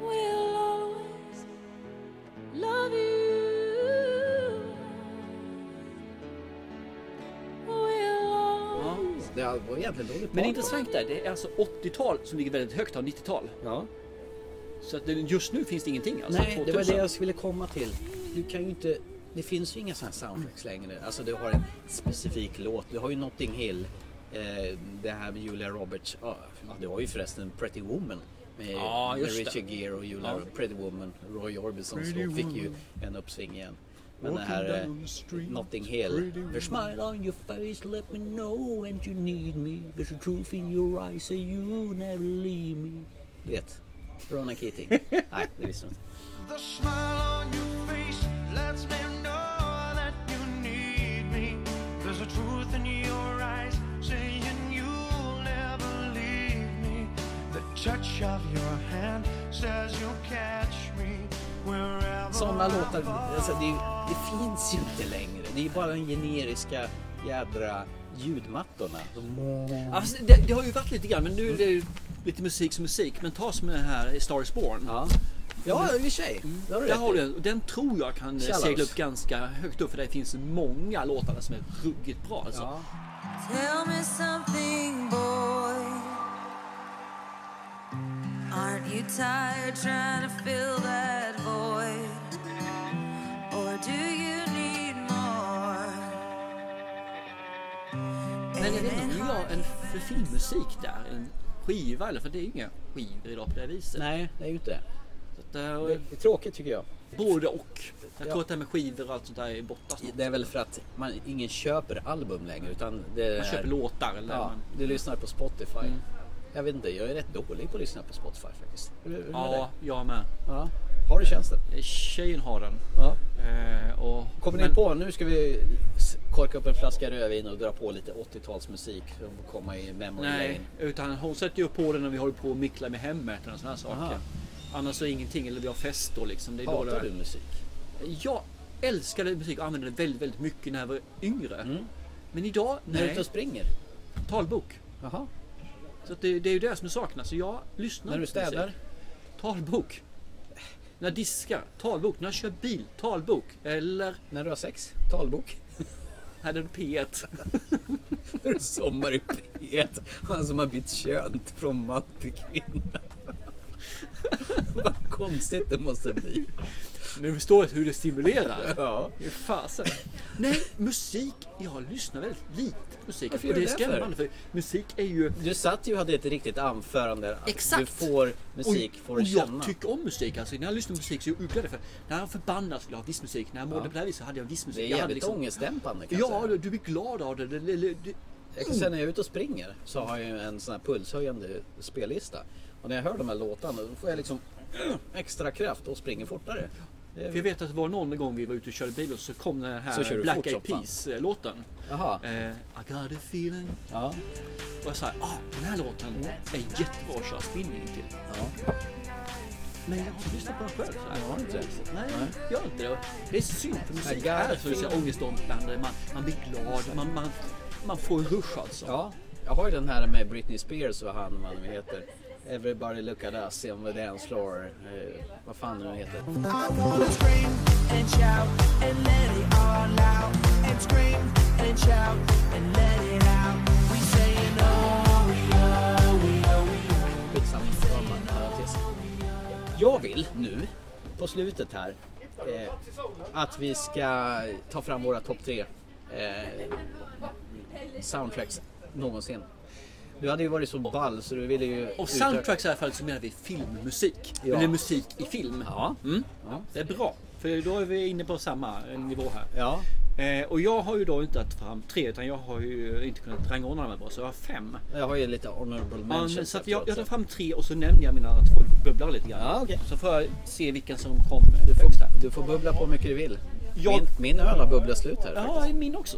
will always love you. Will always Det var egentligen dåligt Men det par är då. intressant där. Det är alltså 80-tal som ligger väldigt högt av 90-tal. Ja. Så att det- just nu finns det ingenting alltså. Nej, det var 2000. det jag ville komma till. Du kan ju inte... Det finns ju inga sådana soundtracks längre. Alltså du har en specifik låt. Du har ju Notting Hill. Eh, det här med Julia Roberts. Ja, ja, du har ju förresten Pretty Woman. Med, Ja, med just det. Richard Gere och Julia Ja. Pretty Woman. Roy Orbison så Pretty fick ju woman. en uppsving igen. Men det Walking här down the eh, street, Notting Hill. pretty woman. The smile on your face let me know when you need me. There's a truth in your eyes so you never leave me. Du vet, Ronan Keating. Nej, det visste du inte. The smile on your face lets me know that you need me. There's a truth in your eyes saying you'll never leave me. The touch of your hand says you'll catch me wherever Sådana I låtar, fall. alltså det, det finns ju inte längre. Det är bara de generiska jädra ljudmattorna. Alltså, det, det har ju varit lite grann, men nu är det ju lite musik som musik. Men ta som den här i Star is Born. Ja, i och för sig. Det Mm. har du Där rätt har i. du den. Och Den tror jag kan eh, Shallows. segla upp ganska högt upp för det finns många låtar där som är ruggigt bra alltså. Tell me something, boy. Aren't you tired trying to fill that void? Or do you need more? Men jag vet inte, vill ha en för fin musik där. En skiva eller för det är ju inga skivor idag på det här viset. Nej, det är ju inte det. det. Det är tråkigt tycker jag. Både och. Jag Ja. tror att det här med skivor och allt sånt där är borta snart. Det är väl för att man, ingen köper album längre utan det Man är- köper låtar eller Ja, man- du lyssnar på Spotify. Jag vet inte, jag är rätt dålig på att lyssna på Spotify faktiskt. Hur, hur är det med dig? Ja, jag med. Eh, Ja. Har du tjänsten? Tjejen har den. Ja. Eh, och, Kommer men- ni på, nu ska vi s- korka upp en flaska rödvin och dra på lite 80-talsmusik för att komma i memory Nej, lane. utan hon sätter ju på den när vi håller på och micklar med hemmet och sådana saker. Aha. Annars så ingenting, eller vi har fest då liksom. Det är då Hatar det... du musik? Jag älskade musik och använde det väldigt, väldigt mycket när jag var yngre. Men idag, Mm. När du är nej. ute och springer? Talbok. Jaha. Så att det, det är ju det som saknas. Så jag lyssnar När du inte på musik. städar? Talbok. När jag diskar, talbok. När jag kör bil, talbok. Eller... När du har sex, talbok. Här är det P1. När det är sommar i P1. Han som har bytt kön från man till kvinna. Vad konstigt det måste bli. Men du förstår hur det stimulerar. Ja. Det är fasen. Nej, musik. Jag lyssnar väldigt lite på musik. Varför Och gör det du är det skrämmande. För musik är ju... Du satt ju och hade ett riktigt anförande. Exakt. Du får musik, och, får och du känna. jag tycker om musik. Alltså, när jag lyssnar på musik så är jag ugglad för När jag förbannad skulle jag ha viss musik. När jag mådde Ja. på det här viset hade jag viss musik. Det är jag hade liksom- jävligt ångestdämpande, kan jag Ja, säga. du, du blir glad av det. det, det, det, det. Jag kan säga när jag är ute och springer så har jag ju en sån här pulshöjande spellista. Och när jag hör de här låtarna då får jag liksom extra kraft och springer fortare. Det är- För jag vet att det var någon gång vi var ute och körde bil och så kom den Så kör här du Black fort Eyed som fan. Peas-låten. Jaha. Eh, I got a feeling. Ja. Och jag sa, ah, den här låten är jättebra att köra spinning till. Men jag har inte lyssnat på den själv. Så här. Har du inte? Nej, jag gör inte det. Det är synd för I musik got a är så feeling. så ångestdämpande. Man, man blir glad. Man, man, man får en rush alltså. Ja, jag har ju den här med Britney Spears och han vad han nu heter. Everybody look at us on the dance floor. Eh, vad fan nu heter. I wanna scream and shout and let it all out. And scream and shout and let it out. We saying oh, we oh, we oh, we oh. Skitsamma, det var bara en parentes. Jag vill nu, på slutet här, eh, att vi ska ta fram våra topp tre eh, soundtracks någonsin. Du hade ju varit så ball så du ville ju... Och soundtracks i alla fall så menar vi filmmusik. Ja. Eller musik i film. Ja. Mm. Det är bra. För då är vi inne på samma eh, nivå här. Ja. Eh, och jag har ju då inte tagit fram tre utan jag har ju inte kunnat rangordna dem här bra. Så jag har fem. Jag har ju lite honorable Ja, mentions. men så att efteråt, jag, jag så. tar fram tre och så nämner jag mina två bubblor lite grann. Ja, okej. Så får jag se vilken som kom Du får, högst där. du får bubbla på hur mycket du vill. Jag- Min, min öl har bubblat slut här Ja, i min också.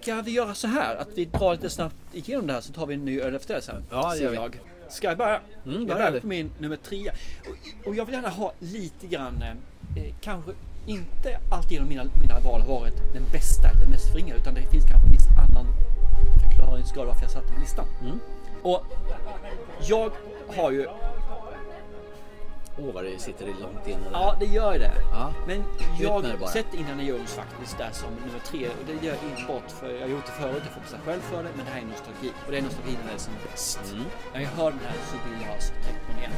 Ska vi göra så här att vi drar lite snabbt igenom det här så tar vi en ny öl efter det sen? Ja, det Ser gör vi. Mm, jag. Ska jag börja? börja jag börjar du. på min nummer tre. Och, och jag vill gärna ha lite grann, eh, kanske inte alltigenom mina, mina val har varit den bästa eller den mest fringa utan det finns kanske en viss annan förklaringsgrad varför jag satte på listan. Mm. Och jag har ju Åh vad det sitter i långt inne. där. Ja, det gör det. Ja. Men Ut med det bara. jag sätter Indiana Jones faktiskt där som nummer tre. Och det gör jag inte bort för jag har gjort det förut, jag får passa själv för det. Men det här är nostalgi. Och det är nostalgin när det är som bäst. Mm. När jag hör den här så vill jag ha skräckmon igen.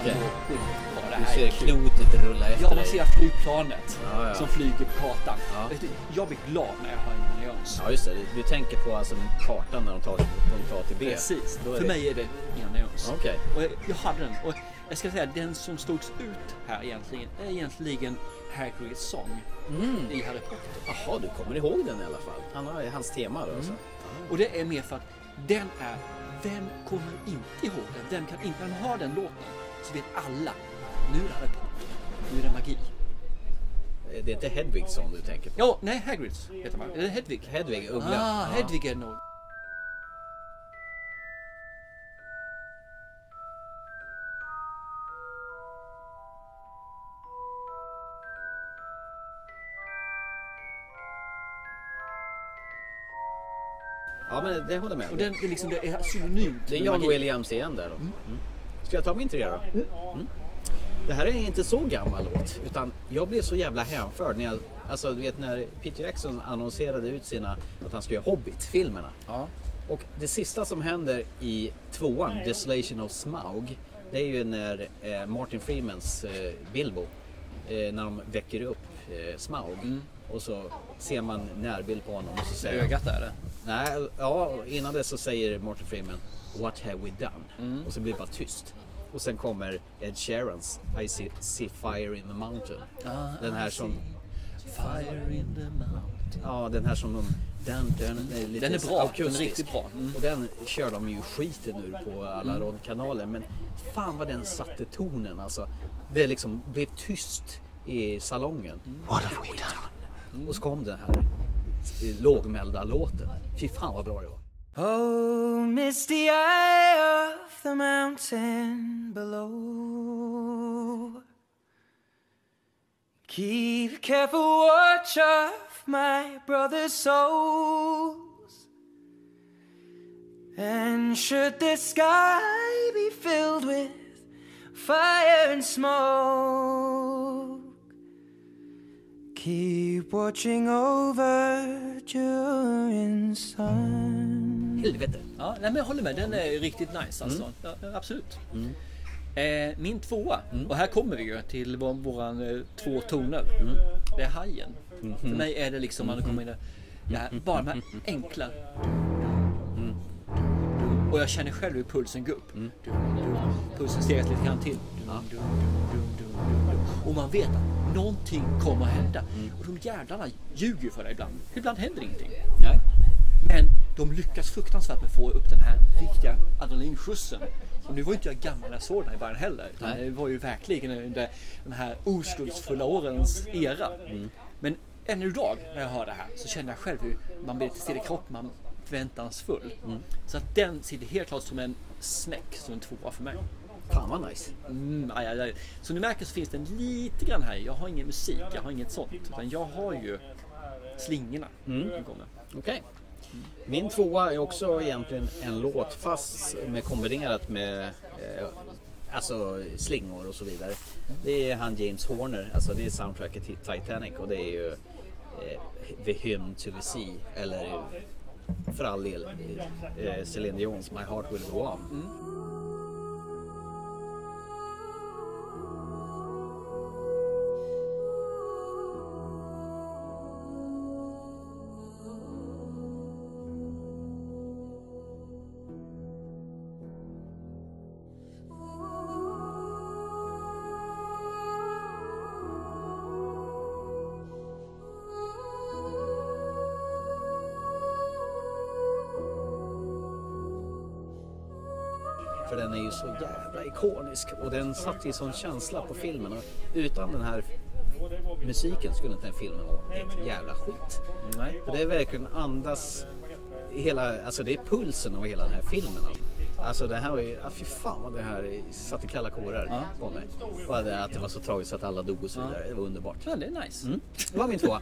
Okej. Ja, det Du här ser är kul. klotet rulla efter Ja, man dig. ser flygplanet Ja, ja. som flyger på kartan. Ja. Vet du, Jag blir glad när jag hör Indiana Jones. Ja just det, du, du tänker på alltså kartan när de tar sig från punkt A till B. Precis. Då är För det- mig är det Indiana Jones. Okej. Och jag, jag hade den. Och jag ska säga den som slogs ut här egentligen är egentligen Hagrids sång Mm. i Harry Potter. Jaha, du kommer ihåg den i alla fall. Han har hans tema då. Alltså. Och det är mer för att den är, vem kommer inte ihåg den? Vem kan inte, när man hör den låten så vet alla, nu är det Harry Potter, nu är det magi. Det är inte Hedvigsson du tänker på? Ja, nej Hagrids heter man, eller Hedvig. Hedvig Uggla. Ah, Hedvig är det nog. Ja, men det håller jag med om. Och den är liksom, det är synonymt Det är med jag magi. och Williams igen där då. Mm. Ska jag ta min trea då? Mm. Det här är inte så gammal låt utan jag blev så jävla hänförd när jag, alltså du vet när Peter Jackson annonserade ut sina, att han ska göra Hobbit-filmerna. Och det sista som händer i tvåan, Desolation of Smaug, det är ju när eh, Martin Freemans eh, Bilbo, eh, när de väcker upp eh, Smaug och så ser man närbild på honom och så säger Ögat är Mm. det. Nej, ja, innan det så säger Martin Freeman What have we done? Mm. Och så blir det bara tyst. Och sen kommer Ed Sheerans I see, see fire in the mountain. den här som... Ah, Fire in the mountain. Ja, den här som de... Den, den, är, lite Den är bra, akustisk. den är riktigt bra. Mm. Och den kör de ju skiten ur på alla radiokanaler. Men fan vad den satte tonen alltså. Det liksom blev tyst i salongen. Mm. What have we done? Och så kom den här eh, lågmälda låten. Fy fan vad bra det var. Oh, misty eye of the mountain below. Keep careful watch of my brother's souls. And should the sky be filled with fire and smoke, keep watching over during sun. Helvete. Ja, nej, men jag håller med, den är riktigt nice alltså. Mm. Ja, absolut. Eh, min tvåa, och här kommer vi ju till vår, våran eh, två toner. Det är hajen. För mig är det liksom, man kommer in där, det här, bara de här enkla. Och jag känner själv hur pulsen går upp. Pulsen stegas lite grann till. Och man vet att någonting kommer att hända. Och de jävlarna ljuger för dig ibland. Ibland händer ingenting. Men de lyckas fruktansvärt med att få upp den här riktiga adrenalinskjutsen. Och nu var ju inte jag gammal när jag såg den här i början heller. Utan Nej. det var ju verkligen under den här oskuldsfulla årens era. Mm. Men ännu idag när jag hör det här så känner jag själv hur man blir lite still i kroppen. Man är förväntansfull. Mm. Så att den sitter helt klart som en snäck, som en tvåa för mig. Fan vad nice. Mm, aj, aj, aj. Som ni märker så finns den lite grann här. Jag har ingen musik, jag har inget sånt. Utan jag har ju slingorna. Mm. som kommer. Okej. Min tvåa är också egentligen en låt fast med kombinerat med eh, alltså slingor och så vidare. Det är han James Horner, alltså det är soundtracket till Titanic och det är ju eh, The Hymn to the Sea eller för all del eh, Celine Dions My Heart Will Go On. För den är ju så jävla ikonisk och den satte ju sån känsla på filmen. Och utan den här musiken skulle inte den filmen vara ett jävla skit. Nej. För det är verkligen andas hela, alltså det är pulsen av hela den här filmen. Alltså det här var ju, ah, fy fan vad det här satte kalla kårar på mig. Och det, att det var så tragiskt att alla dog och så Ja. vidare. Det var underbart. Ja, det är nice. Mm. Det var min tvåa.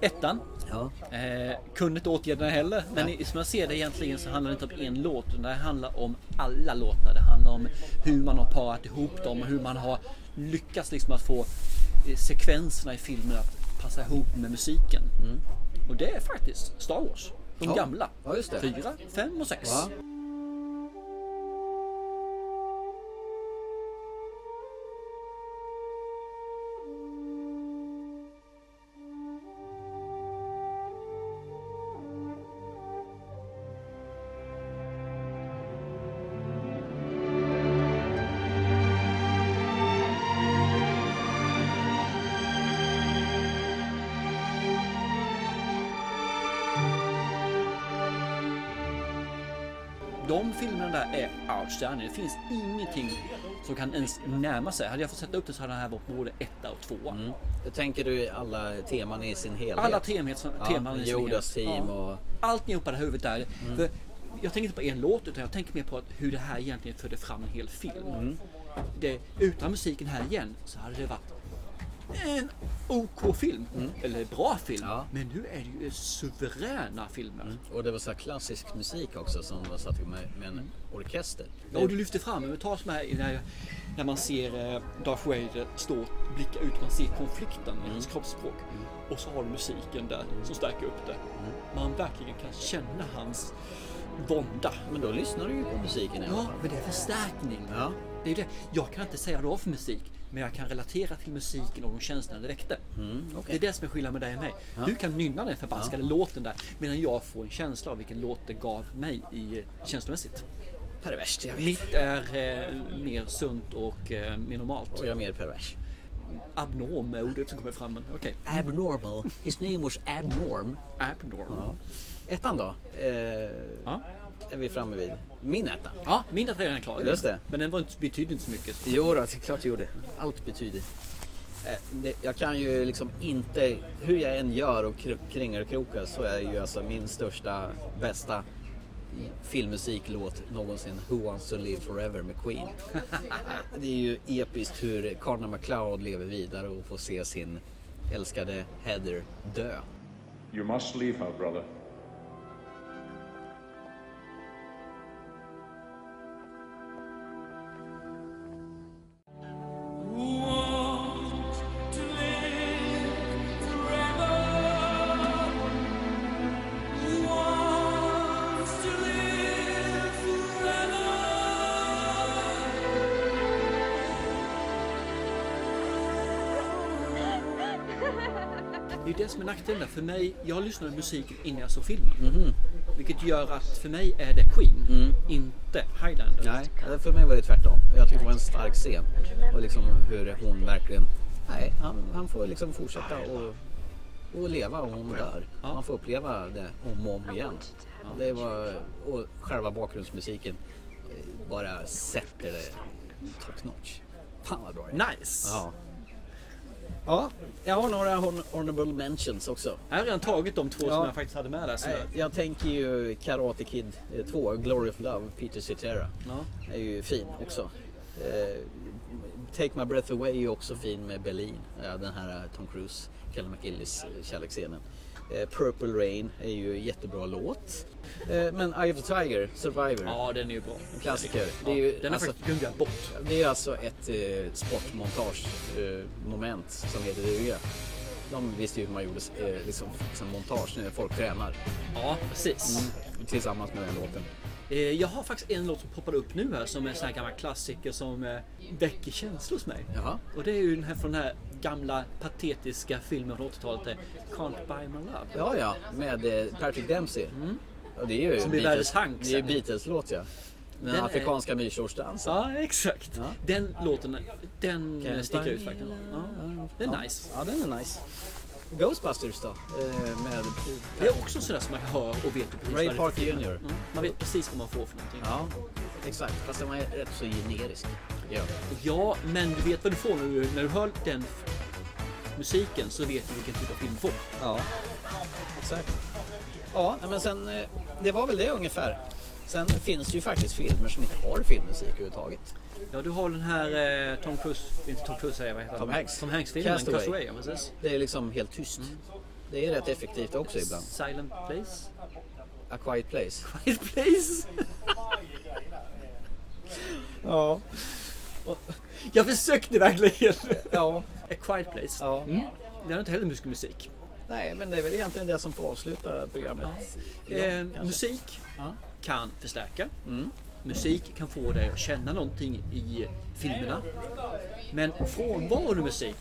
Ettan. Ja. Eh, kunde inte återge den heller. Men i, som jag ser det egentligen så handlar det inte om en låt. Utan det handlar om alla låtar. Det handlar om hur man har parat ihop dem. Och hur man har lyckats liksom att få eh, sekvenserna i filmen att passa ihop med musiken. Och det är faktiskt Star Wars. De Mm. Ja. gamla. Ja, just det. Fyra, fem och sex. Ja. De filmerna där är outstanding. Det finns ingenting som kan ens närma sig. Hade jag fått sätta upp det så hade det här varit både etta och tvåa. Mm. Tänker du alla teman i sin helhet? Alla teman, Ja, teman i sin Yodas helhet. team Ja. och... Alltihopa det här huvudet där. Mm. För jag tänker inte på en låt utan jag tänker mer på att hur det här egentligen förde fram en hel film. Det, utan musiken här igen så hade det varit en OK film. Eller bra film. Men nu är det ju suveräna filmer. Och det var så här klassisk musik också som var satt med, med en orkester. Ja, och du lyfter fram, men ta som här när, när man ser eh, Darth Vader stå och blicka ut, man ser konflikten i hans kroppsspråk. Och så har du musiken där som stärker upp det. Man verkligen kan känna hans vånda. Men då lyssnar du ju på musiken i alla Ja, fall. men det är förstärkning. Det är ju det. Jag kan inte säga vad det var för musik, men jag kan relatera till musiken och de känslorna det väckte. Mm, okej. Det är det som är skillnaden med dig och mig. Ja. Du kan nynna den förbaskade låten där, medan jag får en känsla av vilken låt det gav mig i eh, känslomässigt. Perverst, jag vet. Mitt är eh, mer sunt och eh, mer normalt. Och jag är mer pervers. Abnorm är ordet som kommer fram. men Okej. Abnormal. His name was Abnorm. Abnorm. Ettan då? Eh, Är vi framme vid? Min etta? Ja, min är redan klar. Just det. Men den var inte, betydde inte så mycket. Jo då, det är klart jag gjorde. Allt betyder. Eh, det- Jag kan ju liksom inte, hur jag än gör och kr- kringelkrokar så är ju alltså min största, bästa filmmusiklåt någonsin Who wants to live forever med Queen. Det är ju episkt hur Connor McLeod lever vidare och får se sin älskade Heather dö. You must leave her, brother. Det är ju det som är nackdelen. För mig, jag lyssnade på musiken innan jag såg filmen. Mhm. Vilket gör att för mig är det Queen, inte Highlander. Mm. Nej, eh, för mig var det tvärtom. Jag tyckte det var en stark scen. Och liksom hur hon verkligen... Nej, han, han får liksom fortsätta och, och leva och hon dör. Man får uppleva det om och om igen. Det var, och själva bakgrundsmusiken eh, bara sätter det top notch. Fan vad bra det är. Nice! Ja. ja, jag har några hon- honorable mentions också. Jag har redan tagit de två som Ja. jag faktiskt hade med där. Så Nej, jag tänker ju Karate Kid 2, Glory of Love, Peter Cetera. Ja. är ju fin också. Eh, Take My Breath Away är ju också fin med Berlin. Ja, den här eh, Tom Cruise, Kelly McGillis eh, kärleksscenen. Eh, Purple Rain är ju en jättebra låt. Eh, men Eye of the Tiger, Survivor. Ja, den är ju bra. En klassiker. Ja, Det är ju, alltså- den har faktiskt gungat bort. Det är alltså ett eh, sportmontagemoment eh, moment som heter duga. De visste ju hur man gjorde eh, liksom, som montage när folk tränar. Ja, precis. Mm, tillsammans med den låten. Eh, Jag har faktiskt en låt som poppar upp nu här som är en sån här gammal klassiker som eh, väcker känslor hos mig. Jaha. Och det är ju den här från den här gamla patetiska filmen från 80-talet, eh, Can't Buy My Love. Ja, ja, med eh, Patrick Dempsey. Ja, det är ju Som blir Beatles- världens hank Det är ju sen. Beatles-låt ja. Den, Den är- afrikanska myrsortsdansen. Ja, exakt. Den låten, den Can't eh, sticker buy ut me faktiskt. love. Ja, den är nice. Ja, den är nice. Ghostbusters då? Eh, med Det är också sådär som man hör och vet Ray precis vad det är för Parker film. Jr. Mm, Man vet precis vad man får för någonting. Ja, exakt. Fast den var rätt så generisk. Ja. Ja, men du vet vad du får när du, när du hör den f- musiken så vet du vilken typ av film du får. Ja, exakt. Ja, nej, men sen, eh, det var väl det ungefär. Sen finns det ju faktiskt filmer som inte har filmmusik överhuvudtaget. Ja, du har den här eh, Tom Cruise, inte Tom Cruise säger jag, vad heter Tom han? Hanks. Tom Hanks-filmen, Castaway. Castaway. ja, precis. Det är liksom helt tyst. Det är rätt effektivt också ibland. Silent Place? A Quiet Place. Quiet Place? Ja. Jag försökte verkligen! Ja. A Quiet Place. Ja. Mm. Det är inte heller mycket musik. Nej, men det är väl egentligen det som får avsluta programmet. Eh, kanske. musik Ja. kan förstärka. Musik kan få dig att känna någonting i filmerna. Men frånvaron av musik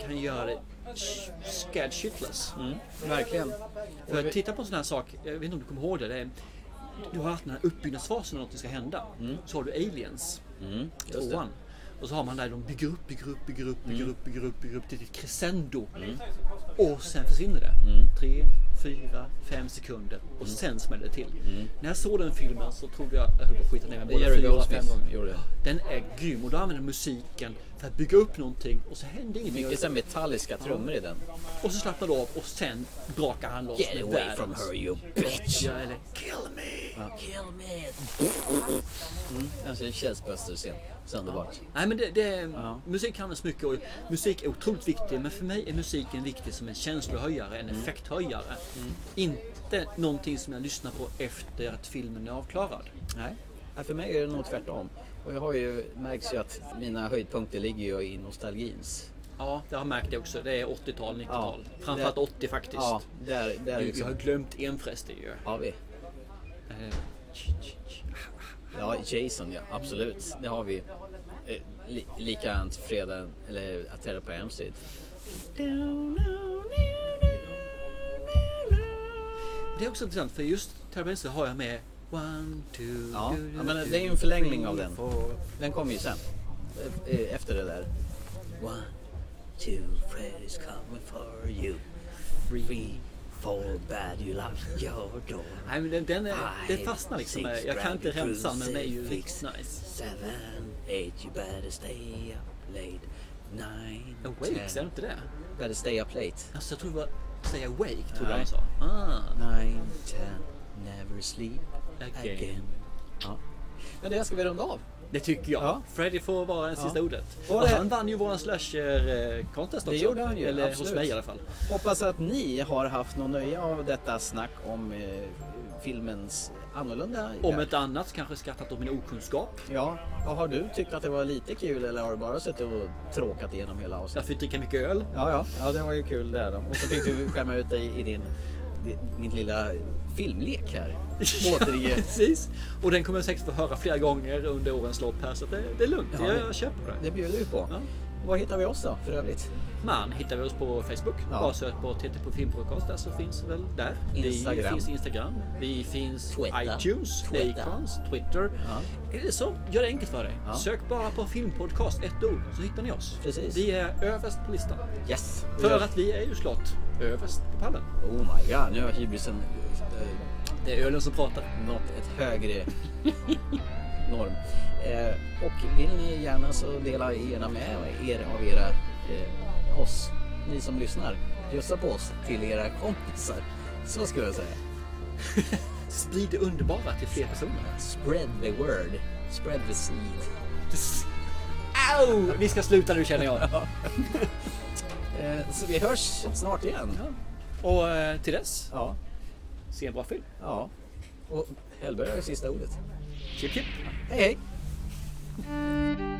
kan göra dig sh- scared shitless. Verkligen. För titta på en sån här sak, jag vet inte om du kommer ihåg det. det är, du har haft den här uppbyggnadsfasen när någonting ska hända. Så har du Aliens, Mm. just det. Mm. tvåan. Och så har man där de bygger upp, bygger upp, bygger upp, bygger upp, bygger upp, bygger upp till ett crescendo. Och sen försvinner det. Mm. Tre, fyra, fem sekunder och sen smäller det till. Mm. När jag såg den filmen så trodde jag jag höll på att skita ner mig båda Jerry fyra, fem Goldsmith gånger. gjorde det. Den är grym och då använder musiken för att bygga upp någonting och så händer ingenting. Mycket så här metalliska trummor i den. Och så slappnar du av och sen brakar han loss Get med away världens- from her, you bitch. Ja, eller kill me! Kill me! Mm, alltså Chessbusters igen. Så underbart. Nej, men det, det, Musik handlar så mycket och musik är otroligt viktig. Men för mig är musiken viktig som en känslohöjare, en Mm. effekthöjare. Inte någonting som jag lyssnar på efter att filmen är avklarad. Nej. Ja, för mig är det nog tvärtom. Och jag har ju märks ju att mina höjdpunkter ligger ju i nostalgins. Ja, jag har märkt det också. Det är 80-tal, 90-tal. Ja. Framförallt Det- 80 faktiskt. Ja, där, där Vi- liksom. Vi har glömt en förresten ju. Har vi? Eh, Ja, Jason ja, absolut. Det har vi. Eh, li- likadant Fredag, eller Aterra på Elm Street. Det är också intressant för just Terrorbense har jag med One, two, Ja, do, do, ja men do, det är ju en do, förlängning three, av den. four. Den kommer ju sen. Eh, eh, Efter det där. One, two, Freddy's coming for you. Three, four, bad you lock your door. Nej, men den, den är, det Five, fastnar liksom. six, Jag kan inte grab your rensa men den är ju crucifix. riktigt nice. Seven, eight, you better stay up late. Nine, Awake, ten. säger inte det? Better Eh, stay up late. Alltså jag tror det var... Säga awake, tror jag Nej. han sa. Ah. Nine, ten, never sleep Again. again. Ja. Men det ska vi runda av. Det tycker jag. Ja. Freddy får vara det sista Ja. ordet. Och Och det- han vann ju våran slasher-contest också. Det gjorde han ju, Eller hos absolut. mig i alla fall. Hoppas att ni har haft någon nöje av detta snack om eh, filmens annorlunda Om värld. ett annat så kanske skrattat åt min okunskap. Ja, och har du tyckt att det var lite kul eller har du bara suttit och tråkat igenom hela Jag avsnittet? fick dricka mycket öl. Ja, ja, ja, det var ju kul det här då. Och så fick du skämma ut dig i din, din, din lilla filmlek här. Ja, Återge. Precis. Och den kommer jag säkert få höra flera gånger under årens lopp här. Så att det, det är lugnt. Ja, jag, det- jag köper det. Det bjuder vi på. Var hittar vi oss då för övrigt? Man hittar vi oss på Facebook. Ja. Bara sök på TT på filmpodcast där så finns väl där. Vi Instagram. finns Instagram. Vi finns Twitter. iTunes, Twitter. Acast, Twitter. Eller så, gör det enkelt för dig. Ja. Sök bara på filmpodcast, ett ord, så hittar ni oss. Precis. Vi är överst på listan. Yes! För att vi är ju slott överst på pallen. Oh my god, nu har hybrisen... eh, Det är ölen som pratar. Nått ett högre norm. Eh, och vill ni gärna så dela gärna med er av era... Eh, oss, ni som lyssnar. Bjussa på oss till era kompisar. Så skulle jag säga. Sprid det underbara till fler personer. Spread the word. Spread the seed. Oh, Au! Vi ska sluta nu känner jag. Eh, så vi hörs snart igen. Och eh, till dess, Ja. se en bra film. ja. Och Hellberg har ju sista ordet. Chip, chip. Hej hej! Thank you.